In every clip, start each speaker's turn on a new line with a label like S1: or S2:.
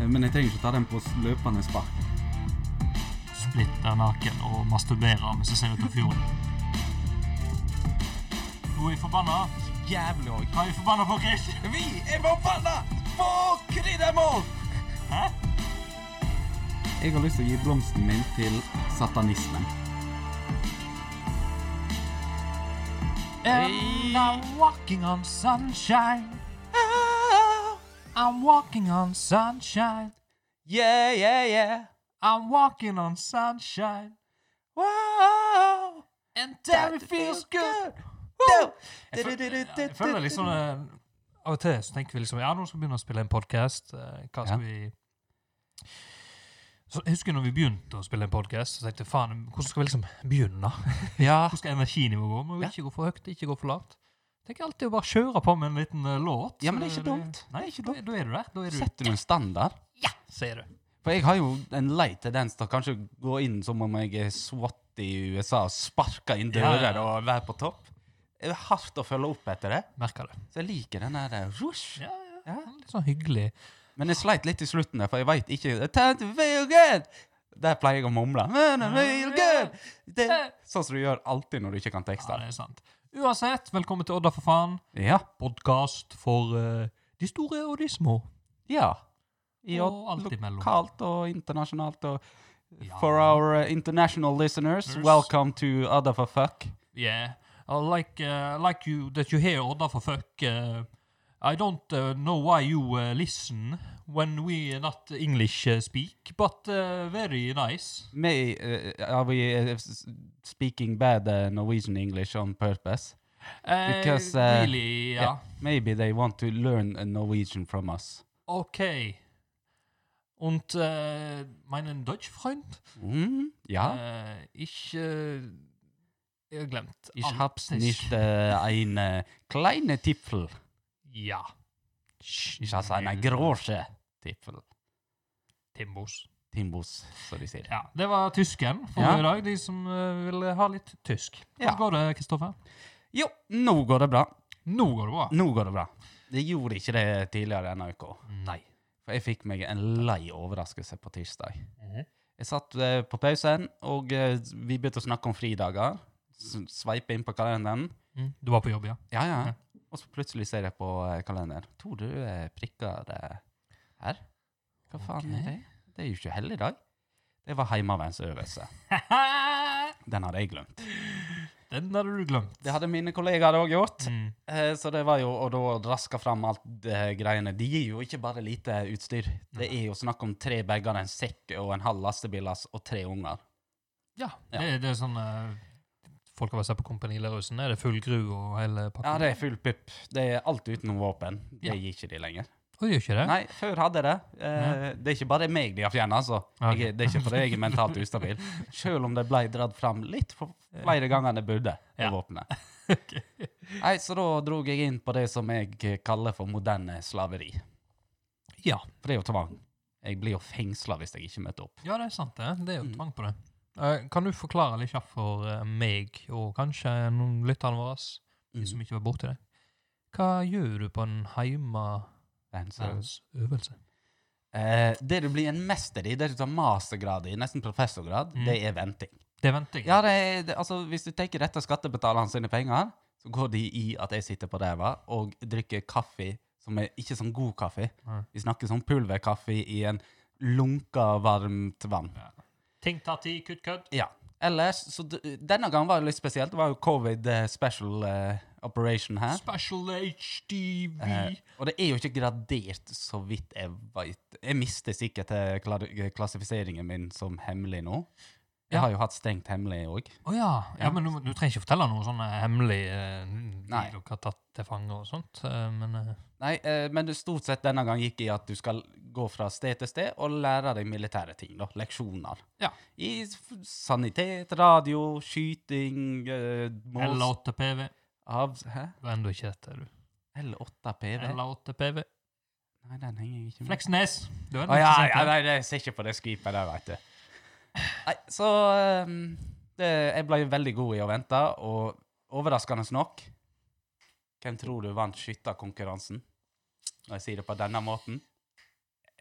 S1: Eh, Men jeg trenger ikke ta den på s- løpende spark.
S2: splitter naken og masturberer mens jeg ser ut av fjorden. Nå er jeg forbanna.
S3: Jævlig òg.
S2: Jeg er forbanna på Chris.
S3: Vi er forbanna på kryddermål!
S2: Hæ?
S1: Jeg har lyst til å gi blomsten min til satanismen.
S3: And I'm
S2: walking on sunshine. I'm walking on sunshine.
S3: Yeah, yeah, yeah.
S2: I'm walking on sunshine.
S3: Wow.
S2: And
S3: That feels good.
S2: Jeg føler, jeg føler liksom eh, Av og til så tenker vi liksom Ja, nå skal vi begynne å spille en podkast. Hva skal vi så jeg husker når vi begynte å spille en podkast, så tenkte jeg faen, hvordan skal vi liksom begynne?
S3: Ja.
S2: Hvor skal energinivået gå? Må jo
S3: Ja.
S2: ikke gå for høyt, ikke gå for lavt. Tenker alltid å bare kjøre på med en liten eh, låt.
S3: Ja, men
S2: så
S3: det er ikke dumt.
S2: Nei,
S3: Det er ikke dumt.
S2: Da er du der. Da er du
S1: Setter du en standard?
S2: Ja, sier du.
S1: For jeg har jo en lei tendens til å kanskje gå inn som om jeg er SWAT i USA og sparke inn
S2: Ja,
S1: dører
S2: ja, ja.
S1: og være på topp. Det er hardt å følge opp etter det.
S2: Merker det.
S1: Så jeg liker den der eh, rush.
S2: Ja, ja. Litt sånn hyggelig.
S1: Men jeg sleit litt i slutten der, for jeg veit ikke Time to feel good! Der pleier jeg å mumle. Men I feel good! Det, sånn som du gjør alltid når du ikke kan
S2: Ja,
S1: tekster.
S2: det er sant. Uansett, velkommen til Odda for faen.
S1: Ja.
S2: Podkast for eh, de store og de små.
S1: Ja. I
S2: Og
S1: og
S2: alt imellom.
S1: lokalt og internasjonalt. Og
S2: Ja.
S1: for our uh, international listeners,
S2: Listeners.
S1: welcome to Other for fuck.
S2: Yeah. I like, uh, like you that you hear Odda for fuck. Uh, I don't uh, know why you uh, listen when we not English uh, speak, but uh, very nice.
S1: May, uh, are we uh, s- speaking bad uh, Norwegian English on purpose?
S2: Uh,
S1: Because, uh,
S2: really, yeah.
S1: Maybe they want to learn uh, Norwegian from us.
S2: Okay. Und uh, meinen Deutschfreund?
S1: Mm? Ja.
S2: Uh, ich, uh, jeg har glemt.
S1: ich
S2: alt
S1: hab's
S2: det-
S1: nicht äh, eine kleine Tippel.
S2: Ja.
S1: Ich hab's eine große Tippel.
S2: Timbos.
S1: Timbos, som de sier.
S2: Ja, det var tysken for
S1: Ja.
S2: i dag, de som eh, ville ha litt tysk. Hvordan
S1: Ja.
S2: går det, Kristoffer?
S1: Jo, nå går det bra.
S2: Nå går det bra.
S1: Nå går det bra. Det gjorde ikke det tidligere denne uka.
S2: Nei.
S1: For jeg fikk meg en lei overraskelse på tirsdag. Jeg satt eh, på pausen, og eh, vi begynte å snakke om fridager. S- Sveipe inn på kalenderen.
S2: Mm. Du var på jobb, ja?
S1: Ja, ja.
S2: Ja.
S1: Og så plutselig ser jeg på eh, kalenderen. To røde prikker eh, her. Hva faen
S2: Ok.
S1: er det? Det er jo ikke helligdag. Det var heimevernsøvelse. Den hadde jeg glemt.
S2: Den hadde du glemt.
S1: Det hadde mine kollegaer òg gjort.
S2: Mm.
S1: Eh, Så det var jo å da raske fram alt det greiene. De gir jo ikke bare lite utstyr. Det er jo snakk om tre bager, en sekk og en halv lastebillass og tre unger.
S2: Ja,
S1: Ja.
S2: Det, det er sånn eh, Folk har vært på Kompani Lauritzen. Er det full gru og hele
S1: Ja,
S2: pakken?
S1: det er full pupp. Det er alt utenom våpen. Det
S2: Ja.
S1: gir ikke de lenger.
S2: Å, gjør ikke det?
S1: Nei, før hadde jeg det. Eh, det er ikke bare meg de har fjerna, altså.
S2: Ok.
S1: Jeg, er- det er ikke fordi jeg er mentalt ustabil. Selv om det ble dratt fram litt for flere ganger enn det burde, det
S2: Ja.
S1: våpenet. Nei, så da dro jeg inn på det som jeg kaller for moderne slaveri.
S2: Ja.
S1: For det er jo tvang. Jeg blir jo fengsla hvis jeg ikke møter opp.
S2: ja, det er sant, det. Det
S1: Mm.
S2: er jo tvang på det. Eh, kan du forklare litt kjapt for eh, meg, og kanskje noen lytterne våre,
S1: Mm.
S2: de som ikke var borti det? Hva gjør du på en heimevernøvelse?
S1: Men så- Eh, det du blir en mester i, det du tar mastergrad i, nesten professorgrad,
S2: Mm.
S1: det er venting.
S2: Det venter jeg.
S1: Ja, det er, det, altså, Hvis du tenker dette skattebetalerne sine penger, så går de i at jeg sitter på ræva og drikker kaffe som er ikke sånn god kaffe.
S2: Nei.
S1: Vi snakker sånn pulverkaffe i en lunka, varmt vann.
S2: Ting tar tid, kutt kødd.
S1: Ja. Ellers, så d Denne gangen var det litt spesielt. Det var jo covid eh, special eh, operation her.
S2: Special HDV.
S1: Eh, og det er jo ikke gradert, så vidt jeg veit. Jeg mister sikkert eh, klar- klassifiseringen min som hemmelig nå. Jeg
S2: Ja.
S1: har jo hatt strengt hemmelig òg.
S2: Å ja. ja.
S1: Ja.
S2: Men du, du trenger ikke fortelle noe sånn eh, hemmelig eh, de
S1: Nei.
S2: dere har tatt til fange og sånt. eh, Men eh,
S1: Nei, eh, men det stort sett denne gang gikk i at du skal gå fra sted til sted og lære deg militære ting, da. Leksjoner.
S2: Ja.
S1: I s- f- sanitet, radio, skyting eh, mås-
S2: L8PV.
S1: Av, hæ?
S2: Du er ennå ikke etter, du.
S1: L8PV?
S2: L8PV.
S1: Nei, den henger jeg ikke med.
S2: Fleksnes. Du er
S1: Mm. Å
S2: ennå
S1: ja, ja,
S2: ikke etter.
S1: nei, jeg ser ikke på det skvipet der, veit du. Nei, så ehm, det, Jeg ble veldig god i å vente, og overraskende nok Hvem tror du vant skytterkonkurransen? Når jeg sier det på denne måten?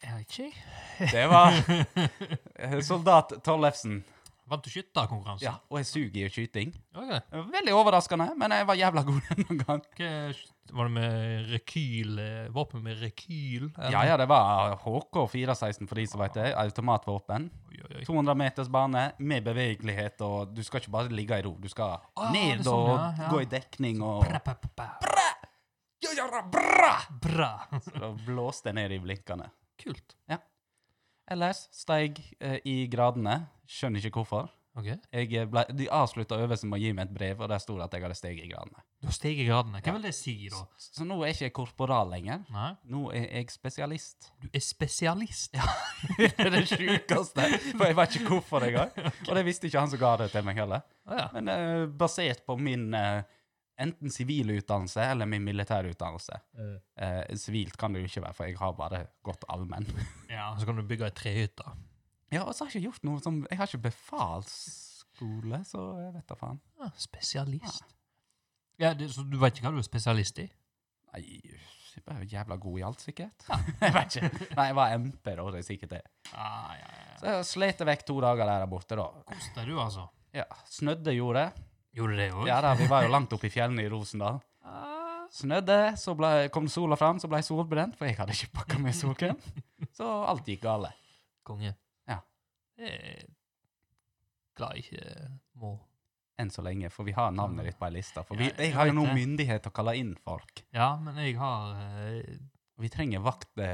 S2: Jeg vet ikke, jeg.
S1: Det var eh, soldat Tollefsen.
S2: Vant du skytterkonkurransen?
S1: Ja, og jeg suger i skyting.
S2: Okay.
S1: Det var Veldig overraskende, men jeg var jævla god denne gang.
S2: Hva- Var det med rekyl eh, Våpen med rekyl? eller?
S1: Ja, ja, det var HK416 for de som vet det. Automatvåpen.
S2: Oi, oi, oi.
S1: 200 meters bane med bevegelighet, og du skal ikke bare ligge i ro. Du skal
S2: Ah, det
S1: ned
S2: er sånn,
S1: og
S2: ja, ja.
S1: gå i dekning og
S2: Bra, bra, bra, bra.
S1: Ja, ja, ja, bra!
S2: bra.
S1: Så da blåste jeg ned i blinkene.
S2: Kult.
S1: Ellers steig eh, i gradene. Skjønner ikke hvorfor.
S2: Ok.
S1: Jeg eh, ble, de avslutta øvelsen med å gi meg et brev, og der sto det at jeg hadde steget i gradene.
S2: Du har steget gradene. Hva vil det si, da?
S1: Så, så nå er ikke jeg korporal lenger.
S2: Nei?
S1: Nå er jeg spesialist.
S2: Du er spesialist.
S1: det er det sjukeste, for jeg vet ikke hvorfor engang. Og det visste ikke han som ga det til meg heller.
S2: Å, ja.
S1: Men eh, basert på min eh, enten sivile utdannelse eller min militære utdannelse. Eh, sivilt kan det jo ikke være, for jeg har bare gått allmenn.
S2: ja, så kan du bygge ei trehytte.
S1: ja, og så har jeg ikke gjort noe som Jeg har ikke befalsskole, så jeg vet da faen.
S2: Ja, spesialist. Ja, det, Så du vet ikke hva du er spesialist i?
S1: Nei, jeg er jo jævla god i alt, sikkert. jeg vet ikke. Nei, jeg var MP, da, det er sikkert det.
S2: Ah, ja, ja, ja.
S1: Så jeg slet vekk to dager der borte, da.
S2: Kos deg, du, altså.
S1: Ja, Snødde gjorde det.
S2: Gjorde du det Ah. òg?
S1: Ja da, vi var jo langt oppe i fjellene i Rosendal. Snødde, så ble, kom sola fram, så ble jeg solbrent, for jeg hadde ikke pakka med solkrem. Så alt gikk gale.
S2: Konge.
S1: Ja.
S2: Jeg er glad jeg ikke må
S1: Enn så lenge, for vi har navnet ditt på ei liste. For vi,
S2: Ja, jeg
S1: jeg har jo
S2: vet
S1: nå
S2: det.
S1: myndighet til å kalle inn folk.
S2: Ja, men jeg har eh,
S1: Vi trenger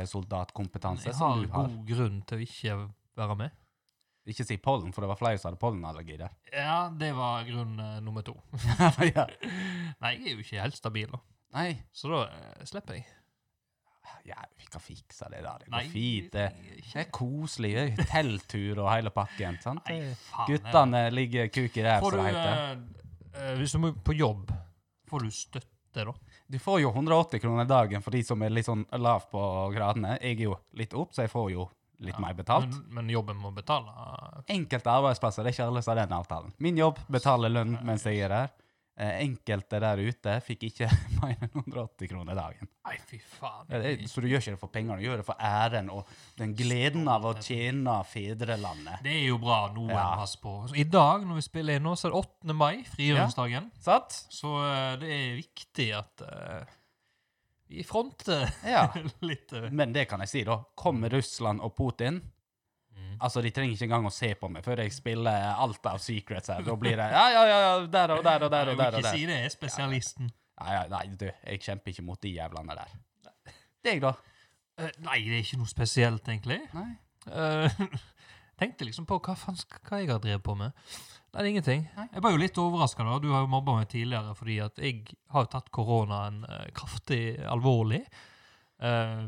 S1: vaktsoldatkompetanse,
S2: Jeg
S1: som
S2: har
S1: du har.
S2: god grunn til å ikke være med.
S1: Ikke si pollen, for det var flere som hadde pollenallergi der.
S2: Ja, det var grunn eh, nummer to.
S1: ja.
S2: Nei, jeg er jo ikke helt stabil, da.
S1: Nei,
S2: Så da eh, slipper jeg.
S1: ja, vi kan fikse det der. Det
S2: Nei,
S1: går fint. Det,
S2: jeg-
S1: det er koselig. Det er telttur og hele pakken. sant?
S2: Nei, faen. jeg-
S1: Guttene ligger kuk i ræv,
S2: Får
S1: som
S2: du,
S1: det heter.
S2: eh, eh, hvis du må på jobb, får du støtte da?
S1: Du får jo 180 kroner dagen for de som er litt sånn lav på gradene. Jeg er jo litt opp, så jeg får jo litt mer betalt.
S2: Men, men jobben må betale? eh,
S1: Enkelte arbeidsplasser det er ikke alle som har den avtalen. Min jobb betaler lønn mens jeg er der. Eh, Enkelte der ute fikk ikke mer enn 180 kroner dagen.
S2: Nei, fy faen.
S1: Eh, det- Så du gjør ikke det for pengene, du gjør det for æren og den gleden av å tjene fedrelandet.
S2: Det er jo bra noen
S1: Ja.
S2: pass på. Så I dag når vi spiller inn nå, så er det 8. mai, frigjøringsdagen.
S1: Sant?
S2: Så eh, det er viktig at eh, vi fronter
S1: Ja.
S2: litt. eh.
S1: Men det kan jeg si, da. Kommer Russland og Putin
S2: Mm.
S1: Altså, De trenger ikke engang å se på meg før jeg spiller alt av Secrets her. Da blir det ja, ja, ja, ja, der og der og der og
S2: jeg
S1: der.
S2: vil
S1: og
S2: ikke
S1: der.
S2: si det, jeg er spesialisten.
S1: Nei, ja, nei, du, jeg kjemper ikke mot de jævlene der. Deg, da?
S2: Eh, nei, det er ikke noe spesielt, egentlig.
S1: Nei.
S2: Eh, tenkte liksom på hva faen sk- hva jeg har drevet på med. Nei, det er ingenting.
S1: Nei.
S2: Jeg var jo litt overraska. Du har jo mobba meg tidligere fordi at jeg har jo tatt koronaen eh, kraftig alvorlig. Eh,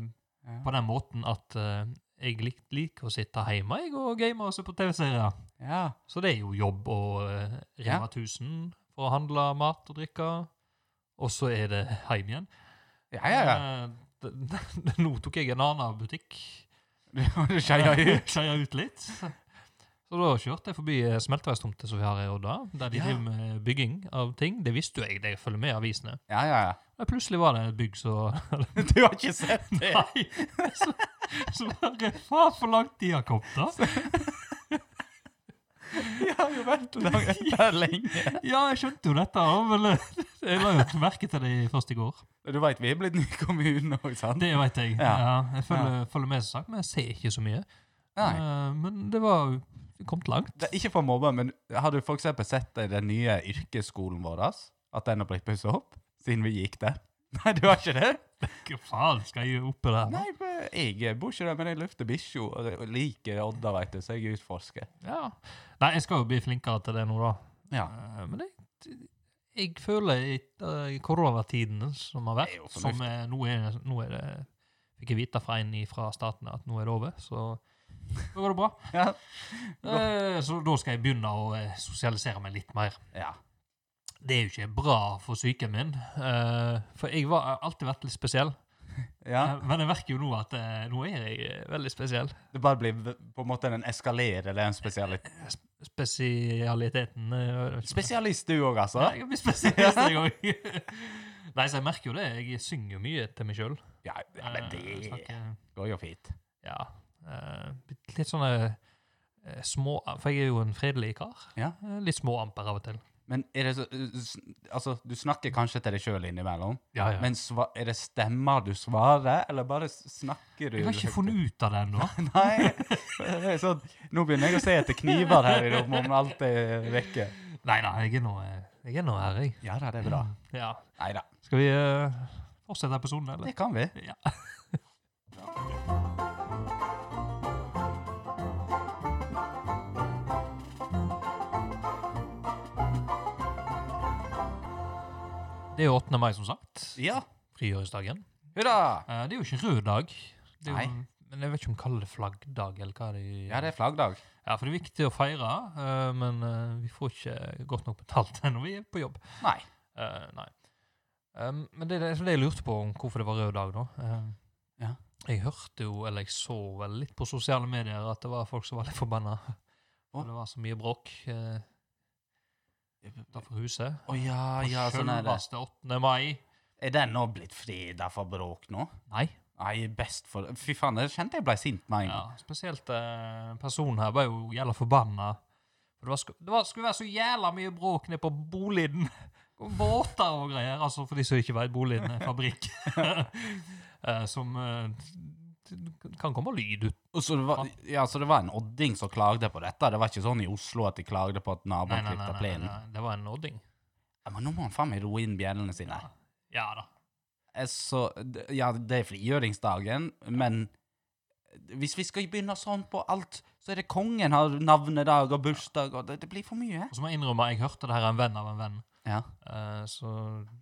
S1: Ja.
S2: På den måten at eh, jeg lik, liker å sitte hjemme jeg, og game og se på TV-serier.
S1: Ja.
S2: Så det er jo jobb og uh,
S1: Ja.
S2: Rema 1000 for å handle mat og drikke. Og så er det hjem igjen.
S1: Ja, ja, ja.
S2: Eh, d- d- Nå tok jeg en annen butikk.
S1: Du skeia ut.
S2: Skeia ut litt. Så da kjørte jeg forbi eh, smelteverkstomta som vi har i Odda, der de
S1: Ja.
S2: driver med bygging av ting. Det visste jo jeg, det jeg følger med i avisene.
S1: Ja, ja, ja.
S2: Men plutselig var det et bygg som
S1: Du har ikke sett det?
S2: Nei! Så, så bare Faen, for langt de har kommet, da.
S1: Jeg har jo ventet der lenge.
S2: Ja, jeg skjønte jo dette, da, men eh, jeg la jo merke til det først i går.
S1: Du veit vi er blitt ny kommune òg, sant?
S2: Det veit jeg. Ja.
S1: Ja.
S2: jeg følger, følger med, som sagt, men jeg ser ikke så mye.
S1: Nei.
S2: Eh, Men det var jo kommet langt.
S1: Det er ikke for mobba, men har du for eksempel sett eh, den nye yrkesskolen vår? At den har blitt pussa opp? Siden vi gikk der? Nei, du har ikke det?
S2: Hva faen skal jeg oppe der? nå?
S1: Nei, men jeg bor ikke der, men jeg løfter bikkja og og liker Odda, veit du, så jeg utforsker.
S2: Ja. Nei, jeg skal jo bli flinkere til det nå, da.
S1: Ja.
S2: Eh, Men jeg, jeg føler etter koronatiden som har
S1: Det er jo
S2: vært, som er, nå, er, nå er det Fikk jeg vite fra en fra staten at nå er det over, så nå går det bra.
S1: Ja.
S2: Eh, Så da skal jeg begynne å eh, sosialisere meg litt mer.
S1: ja.
S2: Det er jo ikke bra for psyken min, eh, for jeg var- har alltid vært litt spesiell.
S1: ja.
S2: Eh, Men jeg merker jo nå at eh, nå er jeg eh, veldig spesiell.
S1: Det bare blir v- på en måte en eskalerer, eller en spesialist.
S2: Eh, sp- Spesialiteten eh,
S1: Spesialist du òg, altså?
S2: Ja, jeg blir spesialist en gang. Nei, så Eh, jeg merker jo det. Jeg synger jo mye til meg sjøl.
S1: Ja, ja, men det går jo fint.
S2: ja, eh, litt- litt sånne eh, små For jeg er jo en fredelig kar.
S1: Ja.
S2: Eh, Litt små amper av og til.
S1: Men er det så Altså, du snakker kanskje til deg sjøl innimellom,
S2: Ja,
S1: men sva, er det stemmer du svarer, eller bare s- snakker du
S2: jeg har ikke funnet ut av det ennå.
S1: Nei. det er Sånn, nå begynner jeg å se etter kniver her i rom om alt er vekke.
S2: Nei, nei, jeg er nå, eh, jeg er nå her, jeg.
S1: Ja da, det er bra.
S2: Ja.
S1: Nei da.
S2: Skal vi eh, fortsette episoden, eller?
S1: Det kan vi.
S2: Ja. Det er jo 8. mai, som sagt.
S1: Ja.
S2: Frigjøringsdagen.
S1: Hurra!
S2: Eh, Det er jo ikke en rød dag. Det er jo,
S1: Nei.
S2: men jeg vet ikke om de kaller det flaggdag, eller hva de
S1: Ja, det er flaggdag.
S2: Ja, for det er viktig å feire, eh, men eh, vi får ikke godt nok betalt når vi er på jobb.
S1: Nei.
S2: Eh, nei. Um, men det er det, så det jeg lurte på om hvorfor det var rød dag, da. Eh,
S1: Ja.
S2: Jeg hørte jo, eller jeg så vel litt på sosiale medier, at det var folk som var litt forbanna.
S1: Å.
S2: Og det var så mye bråk uh, utenfor huset.
S1: Å ja, ja, sånn er det.
S2: Selveste 8. mai.
S1: Er den nå blitt freda for bråk nå?
S2: Nei.
S1: Nei, best for Fy faen, jeg kjente jeg ble sint med en
S2: Ja,
S1: gang.
S2: spesielt eh, personen her var jo jævla forbanna. For Det, var, sku- det var, skulle være så jævla mye bråk nede på Boliden. Og Båter og greier, altså for de som ikke vet, Boliden er en fabrikk. Eh, som eh, kan komme lyd ut.
S1: Og Så det, var, ja, så det var en odding som klagde på dette? Det var ikke sånn i Oslo at de klagde på at naboen klipte plenen?
S2: det var en nodding.
S1: Ja, men nå må han faen meg roe inn bjellene sine.
S2: Ja da.
S1: Eh, Så, d- ja, det er frigjøringsdagen, men hvis vi skal begynne sånn på alt, så er det kongen har navnedag og bursdag, og det, det blir for mye.
S2: Og så må jeg innrømme, jeg hørte det her av en venn av en venn.
S1: Ja.
S2: Eh, så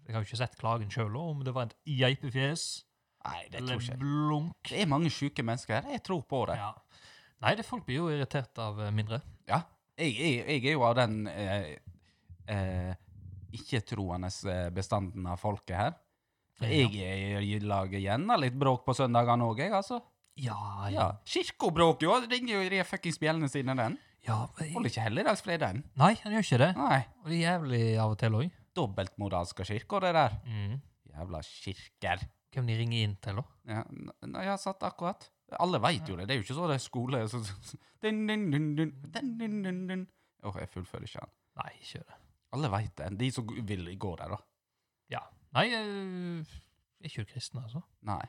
S2: jeg har jo ikke sett klagen sjøl, om det var et geipefjes
S1: Nei, det tror
S2: eller
S1: ikke jeg.
S2: blunk.
S1: Det er mange syke mennesker her, jeg tror på det.
S2: Ja. Nei, det folk blir jo irritert av eh, mindre.
S1: Ja. Jeg, jeg, jeg er jo av den eh, eh, ikke-troende eh, bestanden av folket her. Jeg, jeg, lager gjerne litt bråk på søndagene òg, jeg, altså.
S2: Ja, ja.
S1: Ja. Kirkebråk, jo! Det ringer jo i de fuckings bjellene sine, den.
S2: ja men-
S1: Holder ikke helligdagsfredagen.
S2: Nei, han gjør ikke det.
S1: Nei.
S2: Og det er jævlig av og til òg.
S1: Dobbeltmoralske kirker, det der.
S2: Mm.
S1: Jævla kirker.
S2: Hvem de ringer inn til, da?
S1: Ja, n- nei, jeg har satt akkurat. Alle veit jo det. Det er jo ikke så det er skole så, så, dun, dun, dun, dun, dun, dun, dun, dun. Åh, jeg fullfører ikke den.
S2: Nei, ikke det.
S1: Alle veit det. De som g- vil gå der, da.
S2: Ja. Nei, øh, er ikke du kristen, altså?
S1: Nei.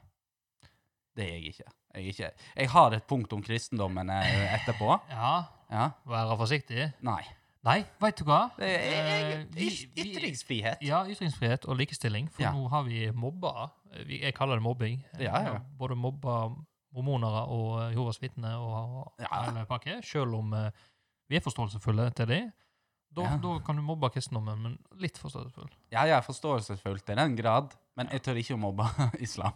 S1: Det er jeg ikke. Jeg, er ikke. jeg har et punkt om kristendommen eh, etterpå.
S2: Ja,
S1: Ja.
S2: være forsiktig.
S1: Nei.
S2: Nei, veit du hva?
S1: Det er, jeg,
S2: Eh, vi-
S1: yt-
S2: vi-
S1: ytringsfrihet.
S2: Ja, ytringsfrihet og likestilling, for
S1: Ja.
S2: nå har vi mobba. Vi- Jeg kaller det mobbing.
S1: Ja, ja.
S2: Både mobba mormonere og eh, Jehovas vitner og og
S1: Ja.
S2: hele pakke, selv om eh, vi er forståelsesfulle til det. Da,
S1: Ja.
S2: da kan du mobbe kristendommen, men litt forståelsesfull.
S1: Ja, jeg forstår selvfølgelig til den grad, men jeg tør ikke å mobbe islam.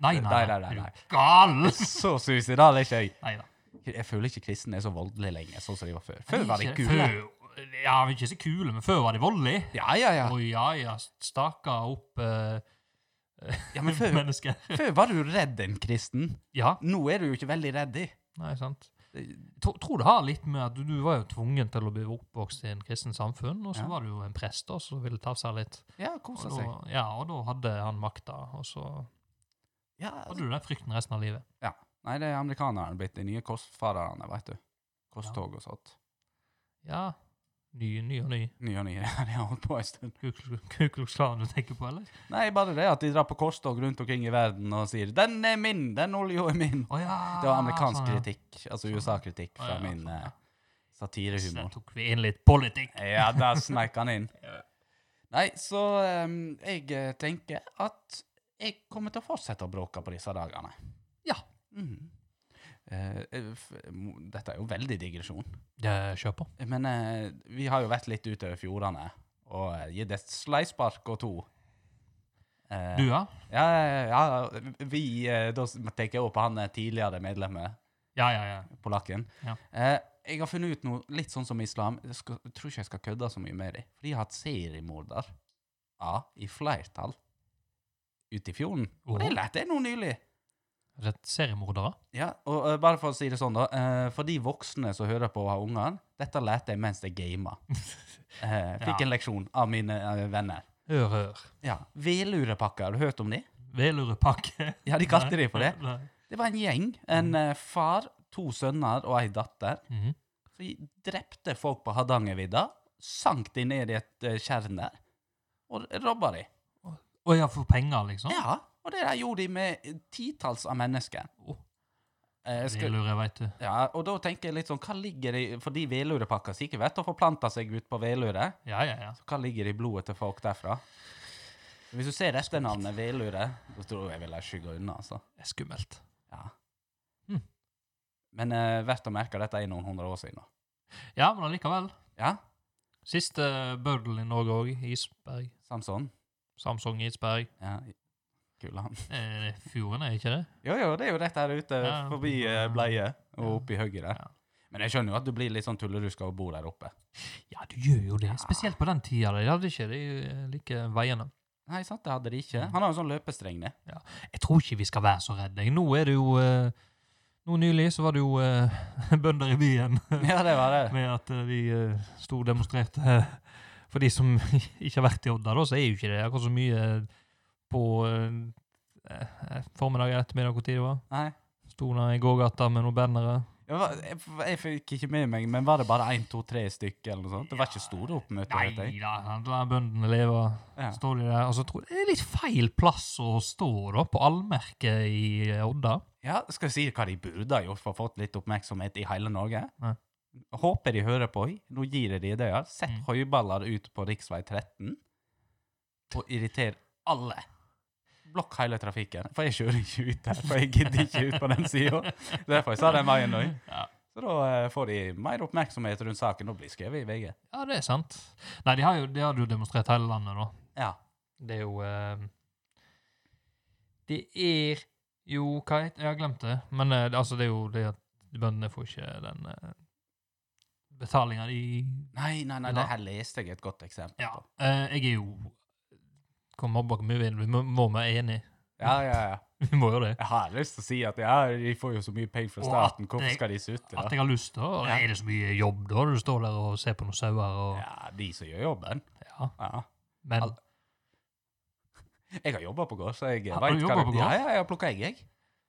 S2: Nei, nei,
S1: Nei, nei, nei,
S2: er
S1: nei.
S2: du gal?
S1: Så suicidal er ikke jeg.
S2: Nei da.
S1: Jeg føler ikke kristne er så voldelige lenger, sånn som de var før.
S2: Men
S1: Før var de
S2: ikke-
S1: kule.
S2: Før, ja, men ikke så kule, men før var de voldelige.
S1: Ja, ja, ja.
S2: Og ja, ja, staka opp eh,
S1: ja men før,
S2: mennesker.
S1: før var du redd en kristen.
S2: Ja,
S1: Nå er du jo ikke veldig redd i.
S2: nei, sant.
S1: Det-
S2: Tro, tror det har litt med at du, du var jo tvungen til å bli oppvokst i en kristen samfunn, og så
S1: Ja.
S2: var det jo en prest da, som ville ta seg litt.
S1: Ja,
S2: Og
S1: kosa
S2: da,
S1: seg.
S2: ja, og da hadde han makta, og så
S1: Ja,
S2: hadde du den frykten resten av livet.
S1: nei, det er amerikanerne blitt de nye korsfarerne, veit du. Korstog og sånt.
S2: Ja, ny, ny og ny.
S1: Nye og nye. De har holdt på en stund.
S2: Ku Klux- Ku Klux Klan du tenker på, eller?
S1: Nei, bare det at de drar på korstog rundt omkring i verden og sier 'Den er min! Den olja er min!'
S2: Å ja!
S1: Det var amerikansk
S2: sånn, ja.
S1: kritikk, altså
S2: Sånn, ja.
S1: USA-kritikk fra
S2: Å, ja,
S1: min
S2: sånn, ja.
S1: eh, satirehumor.
S2: Så tok vi inn litt politikk.
S1: Ja, der sneik han inn. Nei, så ehm, jeg eh, tenker at jeg kommer til å fortsette å bråke på disse dagene.
S2: Ja.
S1: Mhm. Eh, eh, f- mo- dette er jo veldig digresjon,
S2: Ja, Kjør på.
S1: men eh, vi har jo vært litt utover fjordene og eh, gitt et sleispark og to. Eh,
S2: Du, ja?
S1: Ja, ja, ja, vi, eh, da s- tenker jeg også på han eh, tidligere medlemmet,
S2: Ja, ja, ja.
S1: polakken.
S2: Ja.
S1: Eh, jeg har funnet ut noe litt sånn som islam. Jeg, skal, jeg tror ikke jeg skal kødde så mye med dem. For de har hatt seriemorder ja, i flertall ute i fjorden. Og det
S2: Åh.
S1: lærte jeg nå nylig.
S2: Rett seriemordere?
S1: Ja, og eh, bare for å si det sånn, da. eh, for de voksne som hører på og har unger, dette lærte jeg mens jeg gama. Eh, fikk
S2: Ja.
S1: en leksjon av mine eh, venner.
S2: Hør, hør.
S1: Ja, Velurepakker, har du hørt om de?
S2: Velurepakke.
S1: Ja, de kalte de for det.
S2: Nei.
S1: Det var en gjeng. En
S2: Mm.
S1: eh, far, to sønner og ei datter.
S2: Mhm.
S1: Så de drepte folk på Hardangervidda, sank de ned i et eh, tjern der, og robba de.
S2: Å ja, for penger, liksom?
S1: Ja, og det der gjorde de med titalls av mennesker.
S2: Åh.
S1: Eh,
S2: Det
S1: skal,
S2: lurer jeg veit det.
S1: ja, og da tenker jeg litt sånn, hva ligger det i For de velurepakka sikkert vet å forplante seg ut på velure.
S2: Ja, ja, ja.
S1: Så hva ligger i blodet til folk derfra? Hvis du ser etternavnet velure, da tror jeg jeg ville skygge unna, altså.
S2: Det er skummelt.
S1: Ja.
S2: Hmm.
S1: Men eh, verdt å merke, dette er noen hundre år siden. nå.
S2: Ja, men allikevel.
S1: Ja,
S2: Siste bøddel i Norge òg. Isberg.
S1: Samson.
S2: Samsung Isberg.
S1: Ja, kul han.
S2: Eh, Fjorden er ikke det?
S1: Jo, jo, det er jo rett her ute
S2: Ja.
S1: forbi eh, bleie og
S2: Ja.
S1: oppi høyre der.
S2: Ja.
S1: Men jeg skjønner jo at du blir litt sånn tulleruska og bor der oppe.
S2: Ja, du gjør jo det. Spesielt på den tida. De hadde ikke de eh, like veiene.
S1: Nei, sant, det hadde de ikke. Han har jo sånn løpestreng ned.
S2: Jeg tror ikke vi skal være så redde. Nå er det jo eh, Nå nylig så var det jo eh, bønder i byen
S1: Ja, det var det.
S2: med at eh, de eh, sto og demonstrerte. For de som ikke har vært i Odda, da, så er jo ikke det akkurat så mye eh, på eh, eh, formiddag eller ettermiddag hvor tid det var.
S1: Nei.
S2: Sto der i gågata med noen bannere.
S1: Jeg, var, jeg, jeg fikk ikke med meg, men var det bare én, to, tre stykker eller noe sånt? Det var ikke store oppmøter,
S2: Nei
S1: vet jeg.
S2: da, la bøndene leve.
S1: Ja.
S2: Står de der, og så tror jeg Det er litt feil plass å stå, da, på allmerket i eh, Odda.
S1: Ja, skal jeg si hva de burde ha gjort for å fått litt oppmerksomhet i hele Norge?
S2: Nei.
S1: Håper de hører på. oi, Nå gir jeg de ideer. Sett
S2: Mm.
S1: høyballer ut på rv. 13 og irriter alle. Blokk hele trafikken. For jeg kjører ikke ut der, for jeg gidder ikke ut på den sida. Derfor jeg sa den veien nå.
S2: Ja.
S1: Så da eh, får de mer oppmerksomhet rundt saken og blir skrevet i VG.
S2: Ja, det er sant. Nei, de har jo, de har jo demonstrert hele landet, da.
S1: Ja.
S2: Det er jo eh, Det er jo Hva het Jeg har glemt det. Men eh, det- altså, det er jo det at bøndene får ikke den uh, betalinga de
S1: Nei, nei, nei,
S2: Ja.
S1: det her leste jeg et godt eksempel
S2: Ja.
S1: på.
S2: eh, jeg er jo Kom mobba hvor mye vi vil. Vi må- må være enige.
S1: Ja, ja, ja.
S2: Vi må jo det.
S1: Jeg har lyst til å si at ja, de får jo så mye penger fra
S2: Og at
S1: staten, hvorfor
S2: det-
S1: skal de sutte?
S2: At
S1: da?
S2: jeg har lyst til å
S1: Ja.
S2: Er det så mye jobb, da? Du står der og ser på noen sauer og Ja.
S1: Ja, de som gjør jobben. Ja.
S2: Men
S1: Al- Jeg har jobba på gård, så jeg
S2: Har
S1: vet
S2: du
S1: hva
S2: jobbet
S1: det-
S2: på gård?
S1: Ja, ja, jeg har plukka egg, jeg.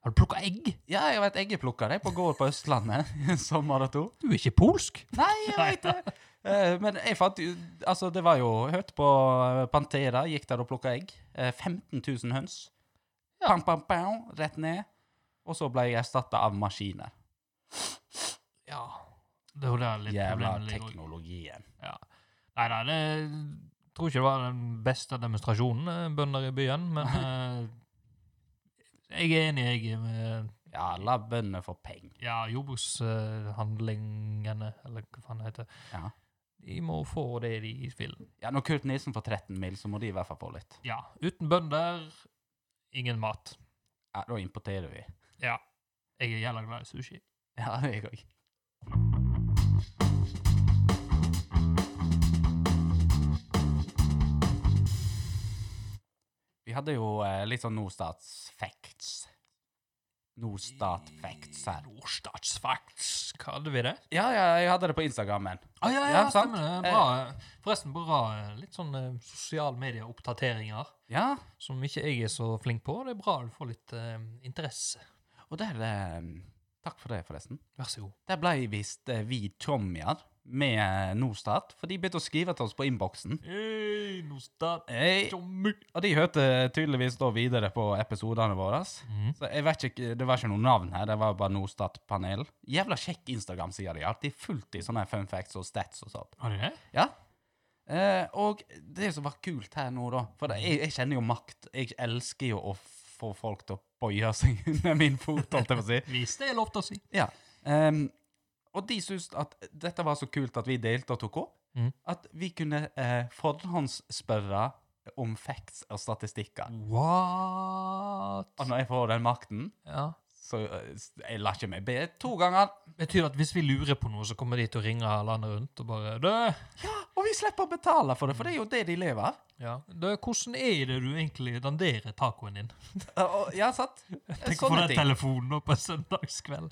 S2: har du plukka egg?
S1: Ja, jeg vet eggeplukker jeg på gård på Østlandet sommer og to.
S2: Du er ikke polsk?
S1: Nei, jeg vet det. Eh, Men jeg fant jo Altså, det var jo Hørte på eh, Pantera, gikk der og plukka egg. Eh, 15 000 høns. Pang, pang, pang, rett ned. Og så ble jeg erstatta av maskiner.
S2: Ja. Det er jo der litt
S1: Jævla
S2: problemet ligger.
S1: teknologien.
S2: Ja. Nei, nei, det tror ikke det var den beste demonstrasjonen, eh, bønder i byen, men eh, jeg er enig, jeg, med
S1: Ja, la bøndene få penger.
S2: ja, jordbrukshandlingene, eller hva faen det heter.
S1: Ja.
S2: De må få det de vil.
S1: ja, når Kurt Nilsen får 13 mil, så må de i hvert fall få litt.
S2: Ja, uten bønder, ingen mat.
S1: Ja, da importerer vi.
S2: Ja, jeg er jævla glad i sushi.
S1: Ja, jeg òg. Vi hadde jo eh, litt sånn Nordstats-facts. Nordstat-facts her.
S2: Nordstatsfacts, hva hadde vi det?
S1: Ja, ja, jeg hadde det på Instagrammen.
S2: Ah, ja, ja,
S1: Ja, sant.
S2: stemmer det. Bra. Forresten, bra eh, litt sånn eh, sosiale medier-oppdateringer.
S1: Ja,
S2: som ikke jeg er så flink på. Det er bra du får litt eh, interesse.
S1: og der eh, Takk for det, forresten.
S2: Vær så god.
S1: Der ble visst eh, vi Tomjar med eh, Nordstat, for de begynte å skrive til oss på innboksen.
S2: Hey, Nostat.
S1: Hey. Eh, Og de hørte tydeligvis da videre på episodene våre.
S2: Mm.
S1: Så jeg vet ikke, Det var ikke noe navn her, det var bare Norstat-panel. Jævla kjekk Instagram-side de har. De er fullt i sånne fun facts og stats og sånt.
S2: Var det det?
S1: Ja. Eh, og det som var kult her nå, da For det, jeg, jeg kjenner jo makt. Jeg elsker jo å få folk til å bøye seg under min fot, holdt jeg på å si.
S2: Hvis det er lov til å si.
S1: Ja. Ehm, og de syntes at dette var så kult at vi delte og tok opp,
S2: Mhm.
S1: at vi kunne eh, forhåndsspørre om facts og statistikker.
S2: What?
S1: Og når jeg får den makten,
S2: Ja.
S1: så eh, s- jeg lar ikke meg be to ganger.
S2: Betyr det at hvis vi lurer på noe, så kommer de til å ringe landet rundt og bare Dø!
S1: Og vi slipper å betale for det, for det er jo det de lever av.
S2: Ja. Dø, hvordan er det du egentlig danderer tacoen din?
S1: Eh, og- Ja, sant?
S2: Tenk å få
S1: Sånne
S2: den
S1: ting.
S2: telefonen nå på en søndagskveld.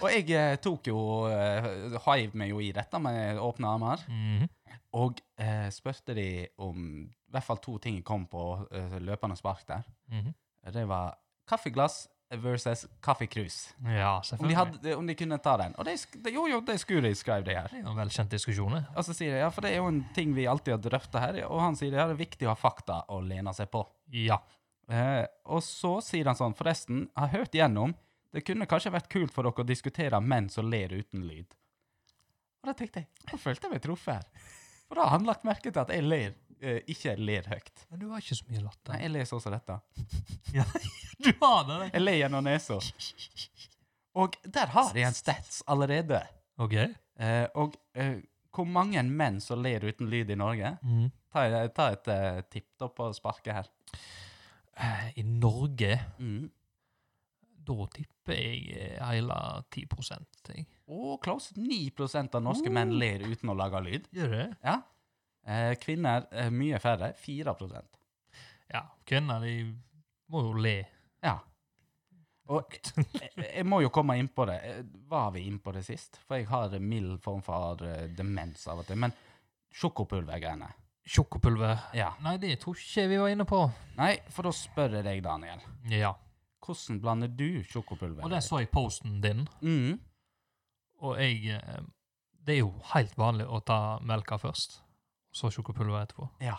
S1: Og jeg eh, tok jo eh, Hive meg jo i dette med åpne armer,
S2: Mhm.
S1: og eh, spurte de om I hvert fall to ting kom på eh, løpende spark der.
S2: Mhm.
S1: Det var kaffeglass versus kaffekrus.
S2: Ja,
S1: Om, de
S2: selvfølgelig.
S1: hadde- om de kunne ta den. Og de, sk- de, jo, jo, de skulle de skrev det her.
S2: Det er jo en velkjent diskusjon. det.
S1: Og så sier jeg, ja, for det er jo en ting vi alltid har drøftet her, og han sier ja, det er viktig å ha fakta å lene seg på.
S2: Ja.
S1: Eh, og så sier han sånn, forresten, jeg har hørt gjennom, det kunne kanskje vært kult for dere å diskutere menn som ler uten lyd. Og da tenkte jeg, da følte jeg meg truffet her. For da har han lagt merke til at jeg ler, eh, ikke ler høyt.
S2: Men du har ikke så mye
S1: Nei,
S2: latter.
S1: jeg ler sånn som dette.
S2: Ja, du har det. det.
S1: Jeg ler gjennom nesa. Og der har jeg en stats allerede.
S2: OK.
S1: Eh, og eh, hvor mange menn som ler uten lyd i Norge?
S2: Mm.
S1: Ta, ta et eh, tipp da på sparket her.
S2: Eh, I Norge,
S1: Mm.
S2: da tipper jeg eh, hele 10 jeg.
S1: Og close 9 av norske menn ler uten å lage lyd.
S2: Gjør det?
S1: Ja. Eh, kvinner eh, mye færre. 4
S2: Ja. Kvinner, de må jo le.
S1: Ja. Og jeg, jeg må jo komme inn på det. Eh, Var vi inn på det sist? For jeg har en mild form for eh, demens av og til. Men sjokopulvergreiene.
S2: Sjokopulver.
S1: Ja.
S2: Nei, det tror ikke jeg vi var inne på.
S1: Nei, for da spør jeg deg, Daniel.
S2: Ja.
S1: Hvordan blander du sjokopulver?
S2: Og der så jeg posten din,
S1: Mm.
S2: og jeg eh, Det er jo helt vanlig å ta melka først, så sjokopulver etterpå.
S1: Ja.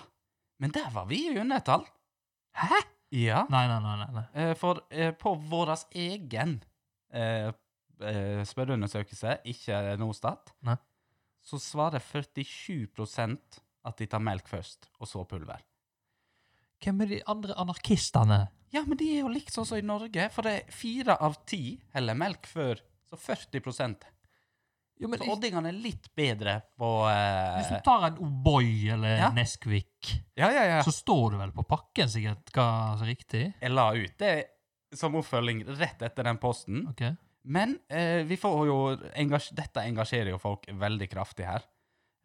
S1: Men der var vi i undertall.
S2: Hæ?
S1: Ja.
S2: Nei, nei, nei. nei, nei.
S1: Eh, For eh, på vår egen eh, eh, spørreundersøkelse, ikke Norstat,
S2: Nei.
S1: så svarer 47 at de tar melk først, og så pulver.
S2: Hvem er de andre anarkistene?
S1: Ja, men de er jo likt sånn som i Norge, for det er fire av ti heller melk før. Så 40 Så
S2: Jo, men Liksom- i-
S1: oddingene er litt bedre på
S2: Hvis
S1: eh,
S2: du tar en O'boy eller
S1: Ja.
S2: Nesquik,
S1: Ja, ja, ja.
S2: så står det vel på pakken sikkert hva som er riktig?
S1: Jeg la ut det som oppfølging rett etter den posten.
S2: Ok.
S1: Men eh, vi får jo engasj dette engasjerer jo folk veldig kraftig her.